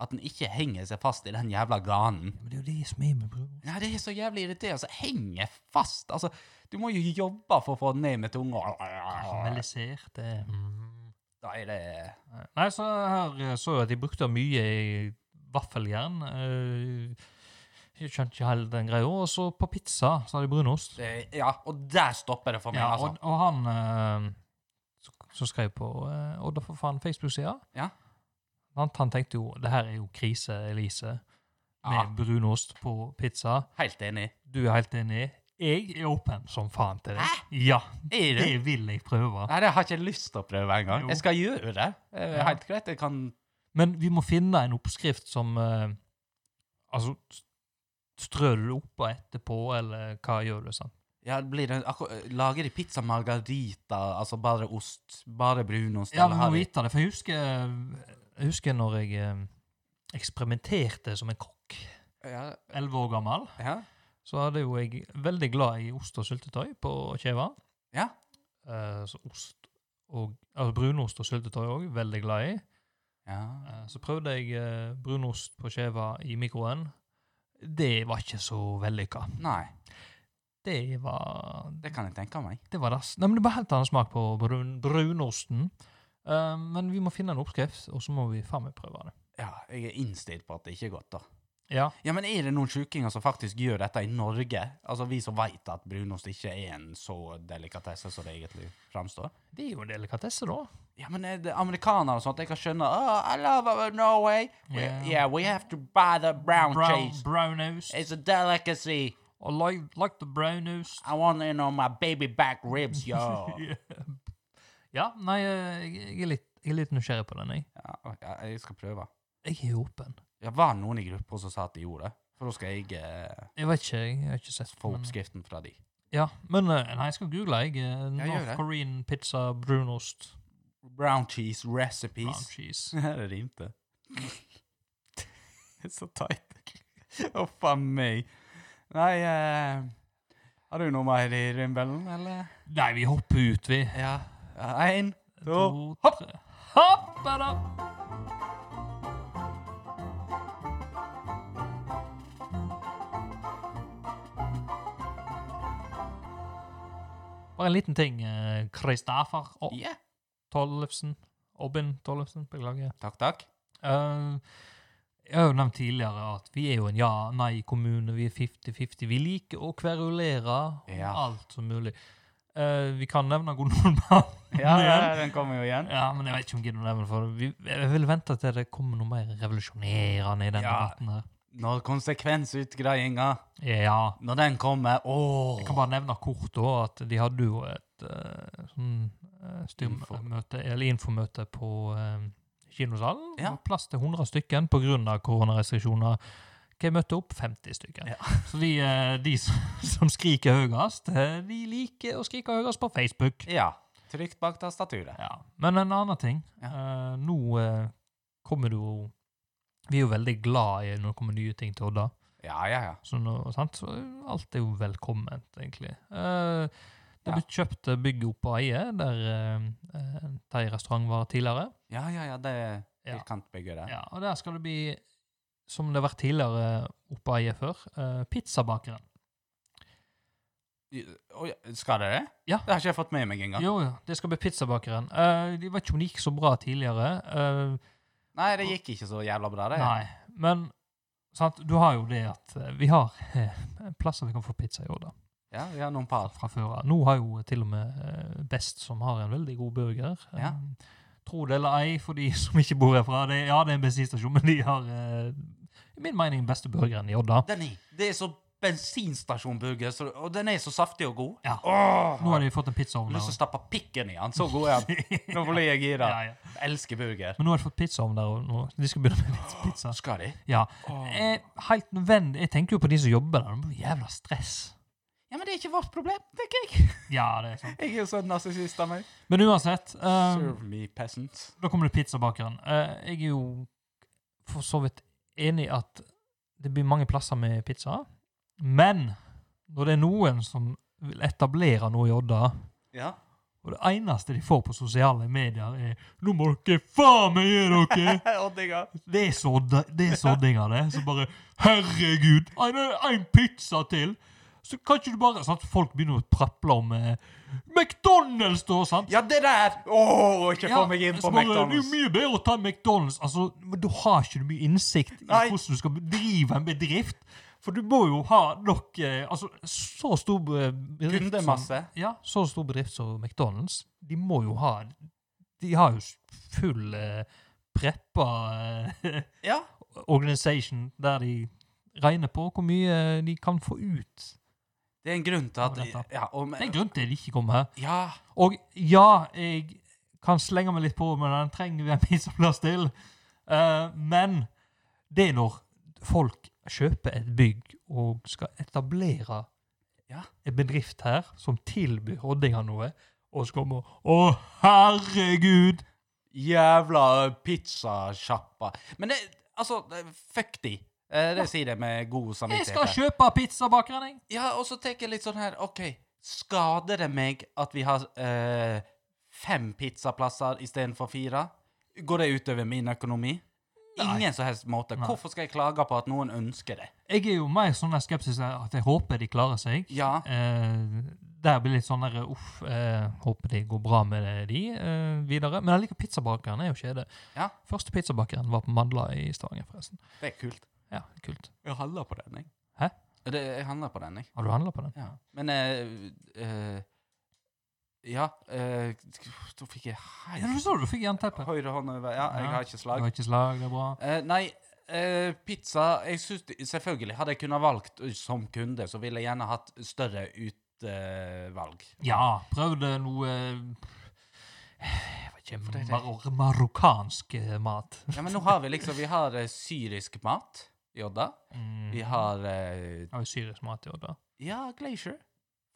S1: At den ikke henger seg fast i den jævla granen.
S2: Men det er jo det som er med brunost.
S1: Ja, det er så jævlig irriterende. Altså, henger fast. Altså, du må jo jobbe for å få den ned med tunga.
S2: Karamellisert det er-
S1: Mm.
S2: Mhm.
S1: Da er det
S2: Nei, så her eh, så jeg at de brukte mye i vaffeljern. Eh, Jeg skjønte ikke helt den greia. Og så på pizza så har de brunost.
S1: det- Ja, og der stopper det for meg,
S2: Ja,
S1: altså.
S2: og, og han eh, som- som skrev på eh, Odda for faen Facebook-sida
S1: Ja.
S2: han, han tenkte jo det her er jo krise, Elise, med
S1: Ja.
S2: brunost på pizza.
S1: Helt enig.
S2: Du er helt enig. Jeg er åpen som faen til det. Ja,
S1: Er du?
S2: det vil jeg prøve.
S1: Nei, det har jeg ikke lyst til å prøve engang.
S2: Jo.
S1: Jeg skal gjøre det. Eh,
S2: Ja.
S1: Helt greit. Jeg kan
S2: Men vi må finne en oppskrift som eh, Altså, s- strør du det oppå etterpå, eller hva gjør du? sant?
S1: ja, blir det, akkur- Lager de pizza margarita, altså bare ost, bare brunost?
S2: Ja,
S1: eller
S2: vi
S1: har
S2: må
S1: de-
S2: vite det, for jeg husker, jeg husker når jeg eh, eksperimenterte som en kokk,
S1: Ja,
S2: elleve år gammel,
S1: ja.
S2: så hadde jo jeg veldig glad i ost og syltetøy på kjeva.
S1: Ja.
S2: Eh, så ost og altså Brunost og syltetøy òg, veldig glad i.
S1: ja.
S2: Eh, så prøvde jeg eh, brunost på kjeva i mikroen. Det var ikke så vellykka.
S1: Nei,
S2: Det var
S1: det kan jeg tenke meg.
S2: Det var dass. Nei, men det var helt annen smak på brun, brunosten. Eh, men vi må finne en oppskrift, og så må vi faen meg prøve det.
S1: Ja, jeg er innstilt på at det ikke er godt, da.
S2: Ja,
S1: Ja, men er det noen sjukinger som faktisk gjør dette i Norge? Altså vi som veit at brunost ikke er en så delikatesse som det egentlig framstår?
S2: det er jo en delikatesse, da.
S1: Ja, men er det amerikanere og sånt, jeg kan skjønne oh, I love uh, Norway. We,
S2: Yeah.
S1: yeah, we have to buy the brown,
S2: Brown,
S1: cheese.
S2: brownost.
S1: It's a delicacy.
S2: I like, like the brownost.
S1: I want it on my baby back ribs, yo.
S2: Yeah. Ja, nei, eh, jeg, jeg, er litt, jeg er litt nysgjerrig på den, jeg.
S1: ja, ok, jeg skal prøve.
S2: Jeg er åpen.
S1: Det var noen i gruppa som sa at de gjorde det. For da skal jeg eh,
S2: Jeg vet ikke, jeg har ikke sett
S1: få
S2: men-
S1: oppskriften fra de.
S2: Ja, men eh, nei, jeg skal google, jeg. eh,
S1: Ja, gjør
S2: North
S1: det.
S2: Korean pizza brunost
S1: Brown cheese
S2: brown
S1: recipes.
S2: cheese.
S1: Det rimte. Det er så teit. Å, faen meg. Nei eh, Har du noe mer i rimbellen, eller?
S2: Nei, vi hopper ut, vi.
S1: Ja. Én, to
S2: To,
S1: hopp.
S2: tre. Hopp, er det! Bare en liten ting. eh, Kristoffer og
S1: Ja.
S2: Tollefsen. Obin Tollefsen, beklager.
S1: Takk, takk.
S2: Eh, jeg har jo nevnt tidligere at vi er jo en ja-nei-kommune. Vi er 50-50. Vi liker å kverulere om
S1: Ja.
S2: alt som mulig. Eh, vi kan nevne Gondolbanen.
S1: Ja, ja, den kommer jo igjen.
S2: Ja, men jeg vet ikke om jeg gidder å nevne det, for vi, jeg vil vente til det kommer noe mer revolusjonerende i den
S1: Ja.
S2: debatten her.
S1: Når konsekvensutgreiinga,
S2: Ja.
S1: når den kommer Åh!
S2: Jeg kan bare nevne kort da, at de hadde jo et eh, sånn eh,
S1: Info.
S2: styrmøte, eller infomøte på eh, kinosalen.
S1: Ja.
S2: Det var plass til 100 stykken på grunn av koronarestriksjoner. Hva møtte opp? 50 stykker. Så de, eh, de s- som skriker høyest, eh, de liker å skrike høyest på Facebook.
S1: Ja. Trygt bak tastaturet.
S2: Ja. Men en annen ting. Eh, nå eh, kommer det jo Vi er jo veldig glad i når det kommer nye ting til Odda.
S1: Ja, ja, ja.
S2: Så nå, sånn sant? Så alt er jo velkomment, egentlig. Eh,
S1: Ja.
S2: det ble kjøpt eh, bygg opp på Eie, der eh, eh, Thai restaurant var tidligere.
S1: Ja, ja, ja, det er
S2: Ja.
S1: firkantbygget der.
S2: Ja, og der skal det bli, som det har vært tidligere oppe av IF før, eh, pizzabakeren.
S1: Oi, skal det det?
S2: Ja.
S1: Det har ikke jeg fått med meg engang.
S2: Jo, jo, det skal bli pizzabakeren. Eh, jeg vet ikke om det gikk så bra tidligere. eh,
S1: Nei, det gikk ikke så jævla bra, det.
S2: nei, men sant, du har jo det at eh, vi har eh, plasser vi kan få pizza i år, da.
S1: Ja, vi har noen par.
S2: Fra før av. Nå har jo til og med eh, Best, som har en veldig god burger. Eh,
S1: Ja.
S2: Tro det eller ei, for de som ikke bor herfra. Det, ja, det er en bensinstasjon, men de har eh, i min mening den beste burgeren i Odda.
S1: Den er, det er så bensinstasjonburger, så- og den er så saftig og god.
S2: Ja.
S1: Åh,
S2: Nå har de fått en pizzaovn.
S1: jeg har lyst
S2: der.
S1: til å stappe pikken i den. Så god er den. Nå blir jeg gira.
S2: Ja, ja.
S1: Jeg elsker burger.
S2: Men nå har de fått pizzaovn der, og nå, de skal begynne med litt pizza.
S1: Skal de?
S2: Ja.
S1: Åh.
S2: Eh, helt nødvendig. Jeg tenker jo på de som jobber der. Det blir jævla stress.
S1: Ja, men det er ikke vårt problem, tenker jeg.
S2: Ja, det er sant.
S1: Jeg er jo sånn narsissist av meg.
S2: Men uansett, eh,
S1: Serve me, peasant.
S2: da kommer det pizzabakeren. Eh, jeg er jo for så vidt enig i at det blir mange plasser med pizza, men når det er noen som vil etablere noe i Odda,
S1: Ja.
S2: og det eneste de får på sosiale medier, er 'Nå må dere faen meg gi dere!'
S1: Oddinga.
S2: Det er så, det er så digg av det. Så bare Herregud! Nei, det er en pizza til! Så kan ikke du bare sånn at Folk begynner å praple om eh, McDonald's, da! sant?
S1: Ja, det der! Åh, ikke få meg inn
S2: så
S1: på
S2: bare, Det er jo
S1: McDonald's.
S2: mye bedre å ta McDonald's. Altså, men Da har ikke du mye innsikt i
S1: Nei.
S2: hvordan du skal bedrive en bedrift. For du må jo ha nok eh, Altså, så stor eh, bedrift som-
S1: Kundemasse.
S2: Ja, så stor bedrift som McDonald's. De må jo ha De har jo full eh, preppa eh,
S1: Ja.
S2: organization der de regner på hvor mye eh, de kan få ut.
S1: Det er en grunn til
S2: Det var dette.
S1: at ja, og,
S2: Det er en grunn til de ikke kommer her.
S1: ja,
S2: Og ja, jeg kan slenge meg litt på, men den trenger vi en pizzaplass til. Eh, men det er når folk kjøper et bygg og skal etablere
S1: Ja.
S2: en bedrift her som tilbyr oddinger noe, og så kommer Å, herregud!
S1: jævla pizzasjappa. Men det, altså, det- fuck de. Eh, Det sier jeg med god
S2: Jeg skal
S1: samvittighet. her.
S2: kjøpe pizzabakeren, jeg!
S1: Ja, og så tenker jeg litt sånn her, ok, skader det meg at vi har eh, fem pizzaplasser i stedet for fire? Går det utover min økonomi?
S2: Nei.
S1: Ingen som helst måte.
S2: Nei.
S1: Hvorfor skal jeg klage på at noen ønsker det?
S2: Jeg er jo mer sånn der skeptisk der at jeg håper de klarer seg.
S1: Ja,
S2: Eh, der blir litt sånn der uff, eh, håper det går bra med det, de eh, videre. Men jeg liker pizzabakeren, er jo kjede.
S1: Ja.
S2: Første pizzabakeren var på Mandla i Stavanger, forresten.
S1: det er kult.
S2: Ja, kult.
S1: Jeg handler på den, jeg.
S2: Hæ?
S1: Det, jeg handler på den, jeg.
S2: Har du handla på den?
S1: Ja. Men eh, eh, Ja eh, Da fikk jeg
S2: Ja, du
S1: helt
S2: så det, du fikk jernteppe.
S1: høyre hånd over Ja, jeg
S2: Ja.
S1: har ikke
S2: Det
S1: slag.
S2: var ikke slag, det er bra.
S1: Eh, nei, eh, pizza jeg synes, det- Selvfølgelig. Hadde jeg kunnet valgt eh, som kunde, så ville jeg gjerne hatt større utvalg.
S2: Ja, prøvde noe eh, jeg vet ikke,
S1: For det er det.
S2: mar marokkansk eh, mat.
S1: ja, men nå har vi liksom Vi har eh, syrisk mat i Odda.
S2: Mm.
S1: Vi har eh,
S2: Ja, syrisk mat i år, da.
S1: Ja, Glacier.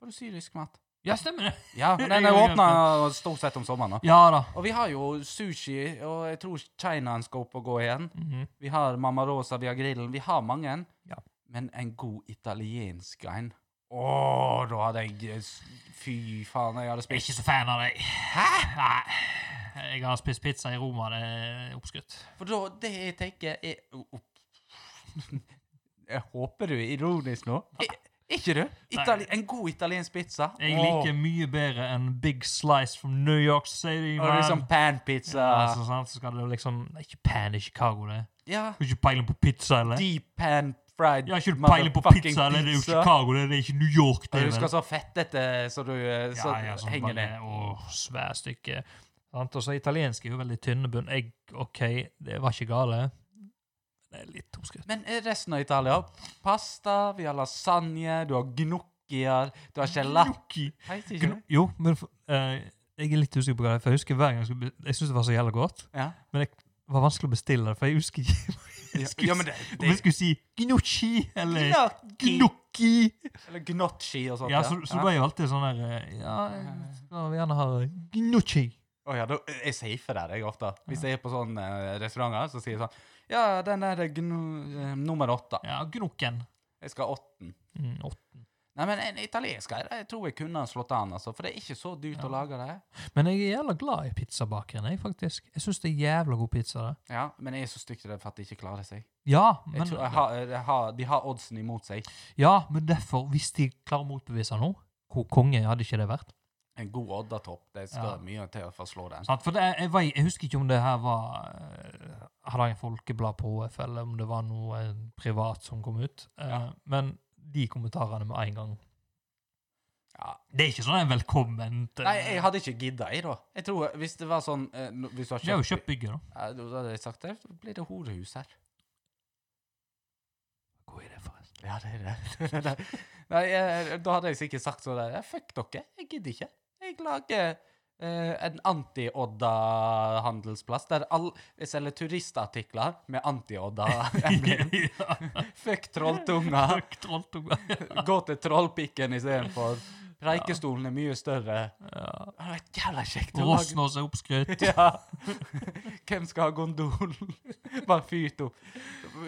S1: Får du syrisk mat?
S2: Ja, stemmer det.
S1: Ja, men den er åpna stort sett om sommeren. nå.
S2: Ja da.
S1: Og vi har jo sushi, og jeg tror Kinaen skal opp og gå igjen.
S2: Mhm.
S1: Vi har Mamma Rosa, vi har grillen, vi har mange.
S2: Ja.
S1: Men en god italiensk en. Åh, da hadde jeg Fy faen, jeg hadde
S2: Jeg er
S1: spist.
S2: ikke så fan av deg. Hæ? Nei. Jeg har spist pizza i Roma, det er oppskrytt.
S1: For da, det jeg tenker er Jeg håper du er ironisk nå. Er- Ikke du? Itali en god italiensk pizza.
S2: Jeg
S1: Åh.
S2: liker mye bedre enn Big Slice from New York City.
S1: Og
S2: man.
S1: liksom panpizza.
S2: ja, altså. så, sant, så skal det liksom det er Ikke pan i Chicago, det.
S1: Ja.
S2: Har ikke peiling på pizza, eller?
S1: Deep pan fried
S2: Jeg har ikke peiling på
S1: motherfucking
S2: pizza, eller? Det er jo
S1: pizza.
S2: Chicago, det. Det er ikke New York, det.
S1: Og du
S2: vel?
S1: skal så fettete så du eh, så
S2: ja, ja, sånn
S1: henger
S2: bare,
S1: ned.
S2: Åh, svært stykke. Sant? Og så italiensk er jo veldig tynne bunn. Jeg, OK, det var ikke gale. Det er litt oppskrytt.
S1: Men eh, resten av Italia Pasta, vi har lasagne, du har gnocchier, du har gelato
S2: Gnocchi.
S1: Heter ikke
S2: Gno-
S1: det?
S2: Jo, men for- eh, jeg er litt usikker på hva det er, for jeg husker hver gang jeg skulle be- Jeg synes det var så jævla godt,
S1: Ja.
S2: men det var vanskelig å bestille det, for jeg husker ikke Skulle,
S1: Ja, men det,
S2: Om jeg
S1: det
S2: skulle si gnocchi eller
S1: Gnocchi.
S2: gnocchi
S1: Eller gnocchi og sånt.
S2: Ja, så, så
S1: ja.
S2: ble jo alltid sånn der eh, Ja, jeg skal gjerne ha gnocchi.
S1: Å ja, da, jeg safer der jeg ofte. Hvis jeg er på sånne eh, restauranter, så sier jeg sånn Ja, den der gno, eh, nummer åtte.
S2: Ja, gnokken.
S1: Jeg skal ha åtten.
S2: Mm, åtte.
S1: Nei, men en italiensk her, jeg tror jeg kunne ha slått an, altså. For det er ikke så dyrt å lage det.
S2: Men jeg er jævla glad i pizzabakeren, jeg, faktisk. Jeg syns det er jævla god pizza. det.
S1: Ja, Men jeg er så stygg til det for at de ikke klarer seg.
S2: Ja,
S1: Jeg
S2: men,
S1: tror, jeg har, jeg har, de har oddsen imot seg.
S2: ja, men derfor, hvis de klarer å motbevise nå, hvor konge hadde ikke det vært?
S1: En god oddertopp, det skal
S2: Ja.
S1: mye til for å slå den.
S2: Sant? For det, jeg, vei- jeg husker ikke om det her var eh, Hardanger Folkeblad på HF, eller om det var noe eh, privat som kom ut. Eh,
S1: Ja.
S2: Men de kommentarene med en gang
S1: Ja.
S2: Det er ikke sånn en velkomment eh,
S1: Nei, jeg hadde ikke gidda, jeg, da. Jeg tror, Hvis det var sånn eh, no- Hvis du har
S2: Det er jo
S1: kjøpt,
S2: kjøpt bygget, da.
S1: Ja, Da hadde jeg sagt det blir det horehus her.
S2: God idé, forresten.
S1: Ja, det er det. Nei, Nei, eh, da hadde jeg sikkert sagt sånn der, fuck dere, jeg gidder ikke. Jeg lager eh, en anti-Odda-handelsplass, der all, jeg selger turistartikler med anti-Odda.
S2: Ja,
S1: fuck trolltunga,
S2: takk, trolltunga.
S1: gå til trollpikken istedenfor. Preikestolen er mye større.
S2: Ja.
S1: Det hadde vært jævla kjekt å lage.
S2: Rossnås er oppskrytt.
S1: Ja. Hvem skal ha gondol? Bare fyrt opp.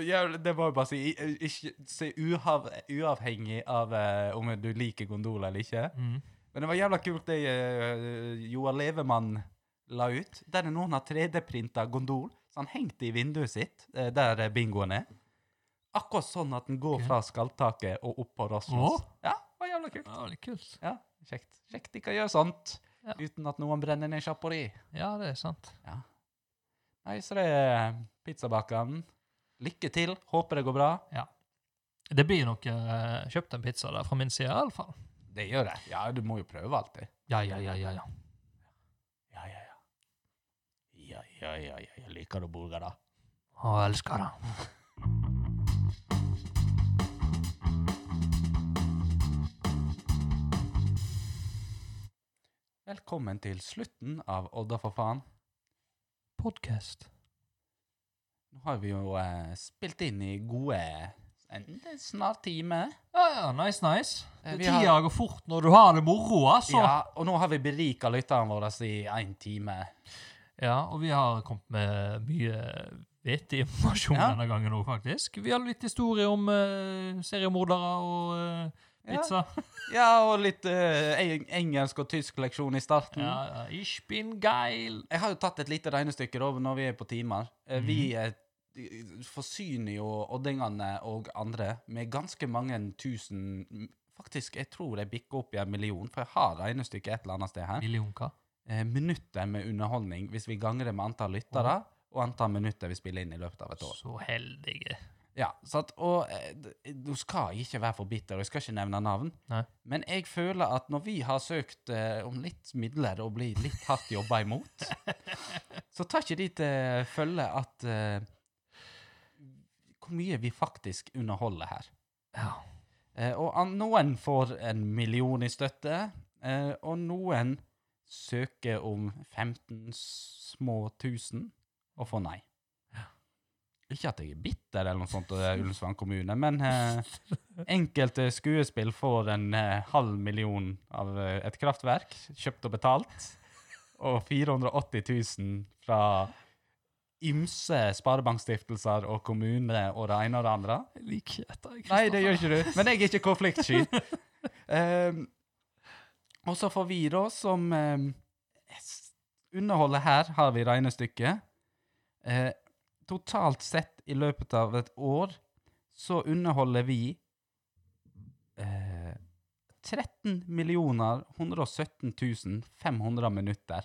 S1: Jævlig, det må jeg bare si. I- Ikke se uhav, uavhengig av eh, om du liker gondol eller ikke.
S2: Mm.
S1: Men det var jævla kult det eh, Joar Levemann la ut. Der er noen har 3D-printa gondol. Så han hengte i vinduet sitt, eh, der eh, bingoen er. Akkurat sånn at den går fra skalltaket og opp på Rosmos.
S2: Åh.
S1: Ja, det var jævla kult.
S2: Ja, det er kult.
S1: Ja, kjekt. Kjekt de kan gjøre sånt
S2: Ja.
S1: uten at noen brenner ned sjappa di.
S2: Ja, det er sant.
S1: Nei, så det er pizzabakeren. Lykke til. Håper det går bra.
S2: Det blir nok eh, kjøpt en pizza der fra min side, iallfall.
S1: Det gjør det. Ja, du må jo prøve alltid.
S2: Ja, ja, ja, ja, ja.
S1: Ja, ja, ja. Ja, ja, ja, ja. Jeg liker du burger, da?
S2: Å, jeg elsker det.
S1: Velkommen til slutten av Odda for faen.
S2: Podcast.
S1: Nå har vi jo eh, spilt inn i gode en en snart time.
S2: Ja, ja, nice, nice.
S1: Eh,
S2: Det
S1: vi
S2: Tida går fort når du har det moro, altså. Ja.
S1: Ja, og nå har vi berika lytterne våre altså, i én time.
S2: og vi har kommet med mye vettig informasjon
S1: Ja.
S2: denne gangen òg, faktisk. Vi har litt historie om eh, seriemordere og eh,
S1: Ja.
S2: pizza.
S1: Ja, og litt eh, eng- engelsk og tysk leksjon i starten.
S2: Ja, ja. Ich bin geil.
S1: Jeg har jo tatt et lite regnestykke da, når vi er på timer. Eh, Vi eh, forsyner jo oddingene og andre med ganske mange tusen m- Faktisk, jeg tror jeg bikker opp i en million, for jeg har regnestykket et eller annet sted her.
S2: Million hva?
S1: Eh, Minutter med underholdning hvis vi ganger det med antall lyttere. Og antall minutter vi spiller inn i løpet av et år.
S2: Så heldige.
S1: Ja, sant? Og eh, d- Nå skal jeg ikke være for bitter, og jeg skal ikke nevne navn,
S2: Nei.
S1: men jeg føler at når vi har søkt eh, om litt midler og blir litt hardt jobba imot, så tar ikke de til følge at eh, Hvor mye vi faktisk underholder her.
S2: Ja.
S1: Eh, og an, noen får en million i støtte, eh, og noen søker om 15 små tusen og får nei. Ikke at jeg er bitter eller noe sånt, eh, Ullensvang kommune, men eh, enkelte skuespill får en eh, halv million av eh, et kraftverk, kjøpt og betalt, og 480 000 fra ymse sparebankstiftelser og kommune og det ene og det andre.
S2: Jeg liker dette. jeg,
S1: Nei, det
S2: Kristoffer.
S1: gjør ikke du. Men jeg er ikke konfliktsky. Ehm, og så får vi, da, som ehm, s- underholder her, har vi regnestykket. Eh, totalt sett i løpet av et år så underholder vi eh, 13 117 500 minutter.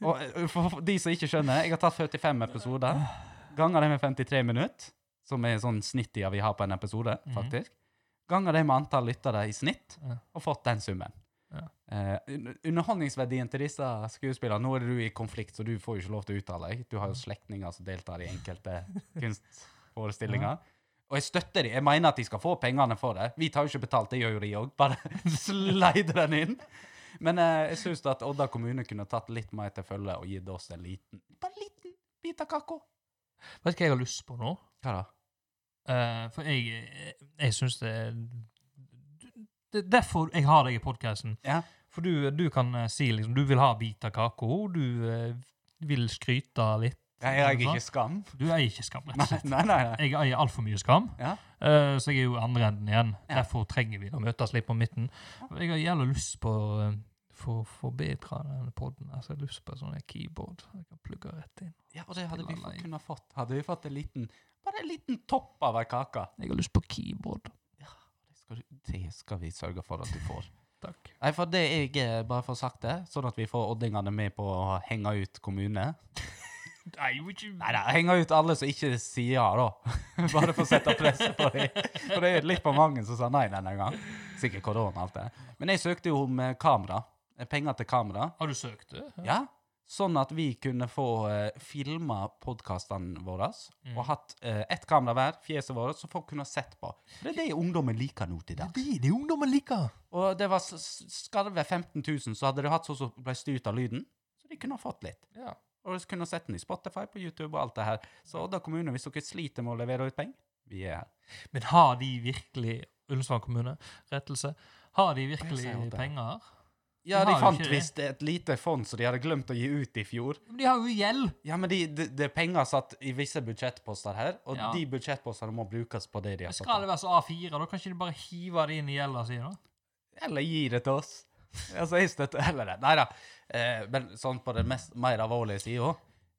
S1: Og eh, for for de som ikke skjønner, jeg har tatt 45 episoder. Ganger det med 53 minutter, som er sånn snittida vi har på en episode,
S2: Mhm.
S1: faktisk. Ganger det med antall lyttere i snitt,
S2: Ja.
S1: og fått den summen.
S2: Ja.
S1: Eh, un- underholdningsverdien til disse skuespillerne Nå er du i konflikt, så du får jo ikke lov til å uttale deg. Du har jo slektninger som deltar i enkelte kunstforestillinger. Og jeg støtter dem. Jeg mener at de skal få pengene for det. Vi tar jo ikke betalt, det gjør jo de òg. Bare slider den inn. Men eh, jeg syns at Odda kommune kunne tatt litt mer til følge og gitt oss en liten bare en liten bit av kaka.
S2: Vet du hva jeg har lyst på nå?
S1: Hva da?
S2: Eh, for jeg, jeg syns det Det er derfor jeg har deg i podkasten.
S1: Ja.
S2: For du, du kan eh, si liksom Du vil ha en bit av kaka, du eh, vil skryte litt.
S1: Jeg eier ikke skam.
S2: Du eier ikke skam, rett og
S1: Nei,
S2: slett.
S1: nei, nei. nei.
S2: Jeg eier altfor mye skam,
S1: Ja.
S2: eh, så jeg er jo i andre enden igjen.
S1: Ja.
S2: Derfor trenger vi å møtes litt på midten. Jeg har jævla lyst på eh, for å forbedre denne poden. Altså, jeg har lyst på et sånt keyboard. Jeg kan plugge rett inn.
S1: Ja, og det hadde vi
S2: Spiller
S1: fått-
S2: lei.
S1: kunne fått. Hadde vi fått en liten, bare en liten topp av ei kake.
S2: Jeg har lyst på keyboard.
S1: Det skal, du- det skal vi sørge for at du får.
S2: Takk.
S1: Nei, for det jeg eh, bare får sagt det, sånn at vi får ordningene med på å henge ut kommune.
S2: Nei, jo ikke
S1: Nei, nei, henge ut alle som ikke sier ja, da. Bare for å sette press på dem. For det er litt for mange som sa nei denne gang. Sikkert korona og alt det. Men jeg søkte jo om eh, kamera. Eh, Penger til kamera.
S2: Har du søkt det?
S1: Ja, sånn at vi kunne få uh, filma podkastene våre og hatt eh, ett kamera hver, fjeset vårt, så folk kunne sett på. Det er det ungdommen liker nå til dags.
S2: Det er det ungdommen liker.
S1: Og det var s- s- skarve 15 000, så hadde de hatt sånn som ble styrt av lyden, så de kunne ha fått litt.
S2: Ja.
S1: Og de kunne ha sett den i Spotify, på YouTube og alt det her. Så Odda kommune, hvis dere sliter med å levere ut penger, vi er her.
S2: Men har de virkelig Ullensvang kommune, rettelse, har de virkelig
S1: Jeg sier det.
S2: penger?
S1: Ja,
S2: Vi
S1: de
S2: har jo
S1: fant
S2: ikke det.
S1: visst et lite fond som de hadde glemt å gi ut i fjor.
S2: Men de har jo gjeld!
S1: Ja, men de- det de, er penger satt i visse budsjettposter her, og
S2: Ja.
S1: de budsjettpostene må brukes på det de har satt av.
S2: Skal det være så A4? Da kan ikke de bare hive det inn i gjelda si? da?
S1: Eller gi det til oss. Altså, jeg støtter heller det. Nei da. Eh, men sånn på den mest, mer alvorlige sida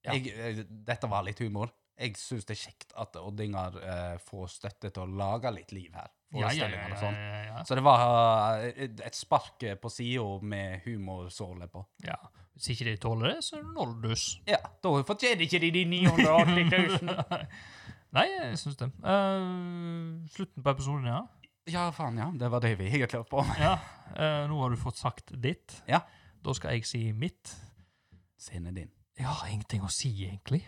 S2: Ja.
S1: eh, Dette var litt humor. Jeg syns det er kjekt at oddinger eh, får støtte til å lage litt liv her. Forestillinger og sånn.
S2: ja, ja.
S1: Så det var eh, et spark eh, på sida med humorsåle på.
S2: ja. Hvis ikke de tåler det, så er det noldus.
S1: Ja, da fortjener ikke de de 980 000.
S2: Nei, jeg syns det. Eh, slutten på episoden, ja.
S1: ja, faen, ja. Det var det vi egentlig holdt på med.
S2: ja. eh, nå har du fått sagt ditt.
S1: Ja.
S2: Da skal jeg si mitt.
S1: Scenen din.
S2: Jeg har ingenting å si, egentlig.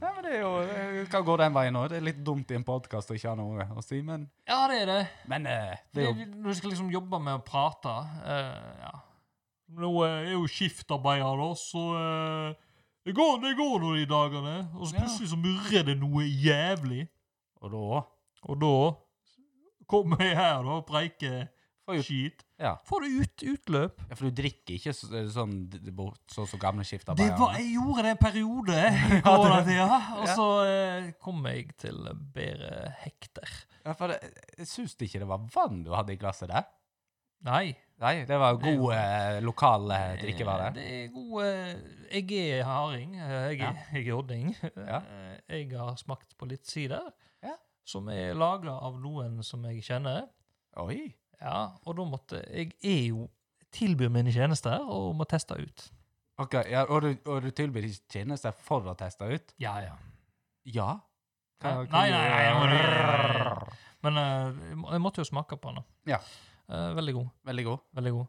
S1: Nei, men det er jo, eh, det kan gå den veien òg. Det er litt dumt i en podkast å ikke ha noe å si, men,
S2: Ja, det er det.
S1: men eh, det er jo
S2: Når du skal liksom jobbe med å prate eh, ja. Nå eh, er jo skiftarbeider, da, så eh, det, går, det går nå de dagene. Og så
S1: Ja.
S2: plutselig så murrer det noe jævlig.
S1: Og da
S2: Og da kommer jeg her da, og preiker
S1: Får jo-
S2: skit.
S1: Ja.
S2: Får det ut, utløp.
S1: Ja, for du drikker ikke så, sånn d- d- bort sånn som gamle
S2: Det var,
S1: skiftarbeidere?
S2: jeg gjorde det en periode, i
S1: det-
S2: koronatida, og
S1: Ja.
S2: så eh, kom jeg til bedre hekter.
S1: Ja, for det- jeg syns ikke det var vann du hadde i glasset der.
S2: Nei.
S1: Nei, det var
S2: Det er jo-
S1: god eh, lokal eh,
S2: Eh,
S1: drikkevare.
S2: Det er god eh, Jeg er harding. eh, Jeg,
S1: Ja.
S2: er- jeg er odding.
S1: Ja.
S2: Eh, Jeg har smakt på litt sider
S1: Ja.
S2: som er laga av noen som jeg kjenner.
S1: Oi.
S2: Ja, og da måtte Jeg er jo tilbyr mine tjenester og må teste ut.
S1: Ok, ja, og, du, og du tilbyr ikke tjenester for å teste ut?
S2: Ja, ja.
S1: Ja.
S2: Nei, nei, nei, nei, Men eh, jeg må- jeg måtte jo smake på den. da.
S1: Ja.
S2: Eh, Veldig god.
S1: Veldig god.
S2: Veldig god.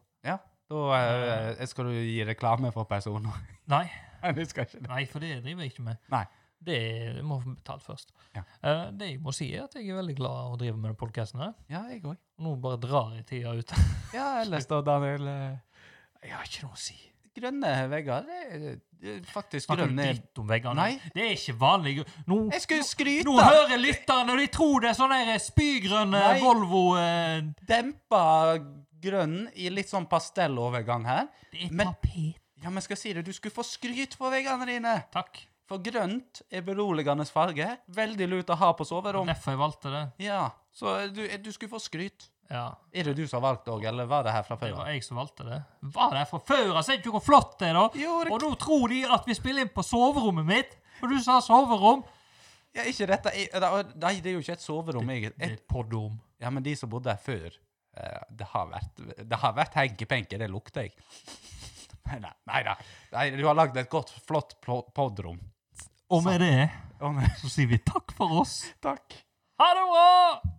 S1: Da eh, skal du gi reklame for personer.
S2: Nei,
S1: Nei, du skal ikke det.
S2: nei, for det driver jeg ikke med.
S1: Nei.
S2: Det må jeg få betalt først.
S1: Ja.
S2: Eh, Det jeg må si, er at jeg er veldig glad å drive med den podkasten her.
S1: Ja, jeg òg.
S2: Nå bare drar jeg tida ut.
S1: Ja, ellers da, Daniel eh,
S2: Jeg har ikke noe å si.
S1: Grønne vegger, det er- det er faktisk
S2: Snakker du
S1: grønne
S2: dritt om veggene?
S1: Nei.
S2: Det er ikke vanlig. Nå,
S1: Jeg skulle skryte!
S2: nå hører lytterne, og de tror det er sånn der spygrønn eh,
S1: Nei.
S2: Volvo eh,
S1: dempa grønn i litt sånn pastellovergang her.
S2: Det er
S1: Men-
S2: tapet.
S1: Ja, men skal jeg si det, du skulle få skryt på veggene dine!
S2: Takk.
S1: For grønt er beroligende farge. Veldig lurt å ha på soverom.
S2: Derfor jeg valgte det.
S1: Ja, så eh, du, du skulle få skryt.
S2: Ja,
S1: Er det du som har valgt òg, eller var det her fra
S2: det
S1: før?
S2: var jeg som valgte det. Var der fra før av? Ser du ikke hvor flott det er, da?
S1: Jo, det-
S2: Og nå tror de at vi spiller inn på soverommet mitt, og du sa soverom.
S1: Ja, ikke dette er- det- Nei, det er jo ikke et soverom. Jeg,
S2: Det er
S1: et,
S2: et podrom.
S1: ja, men de som bodde her før eh, Det har vært Det har vært henkepenke, det lukter jeg. Nei da. Nei da. Nei, Du har lagd et godt, flott po- podrom.
S2: Og med det
S1: Å, nei.
S2: så sier vi takk for oss.
S1: Takk.
S2: Ha det bra!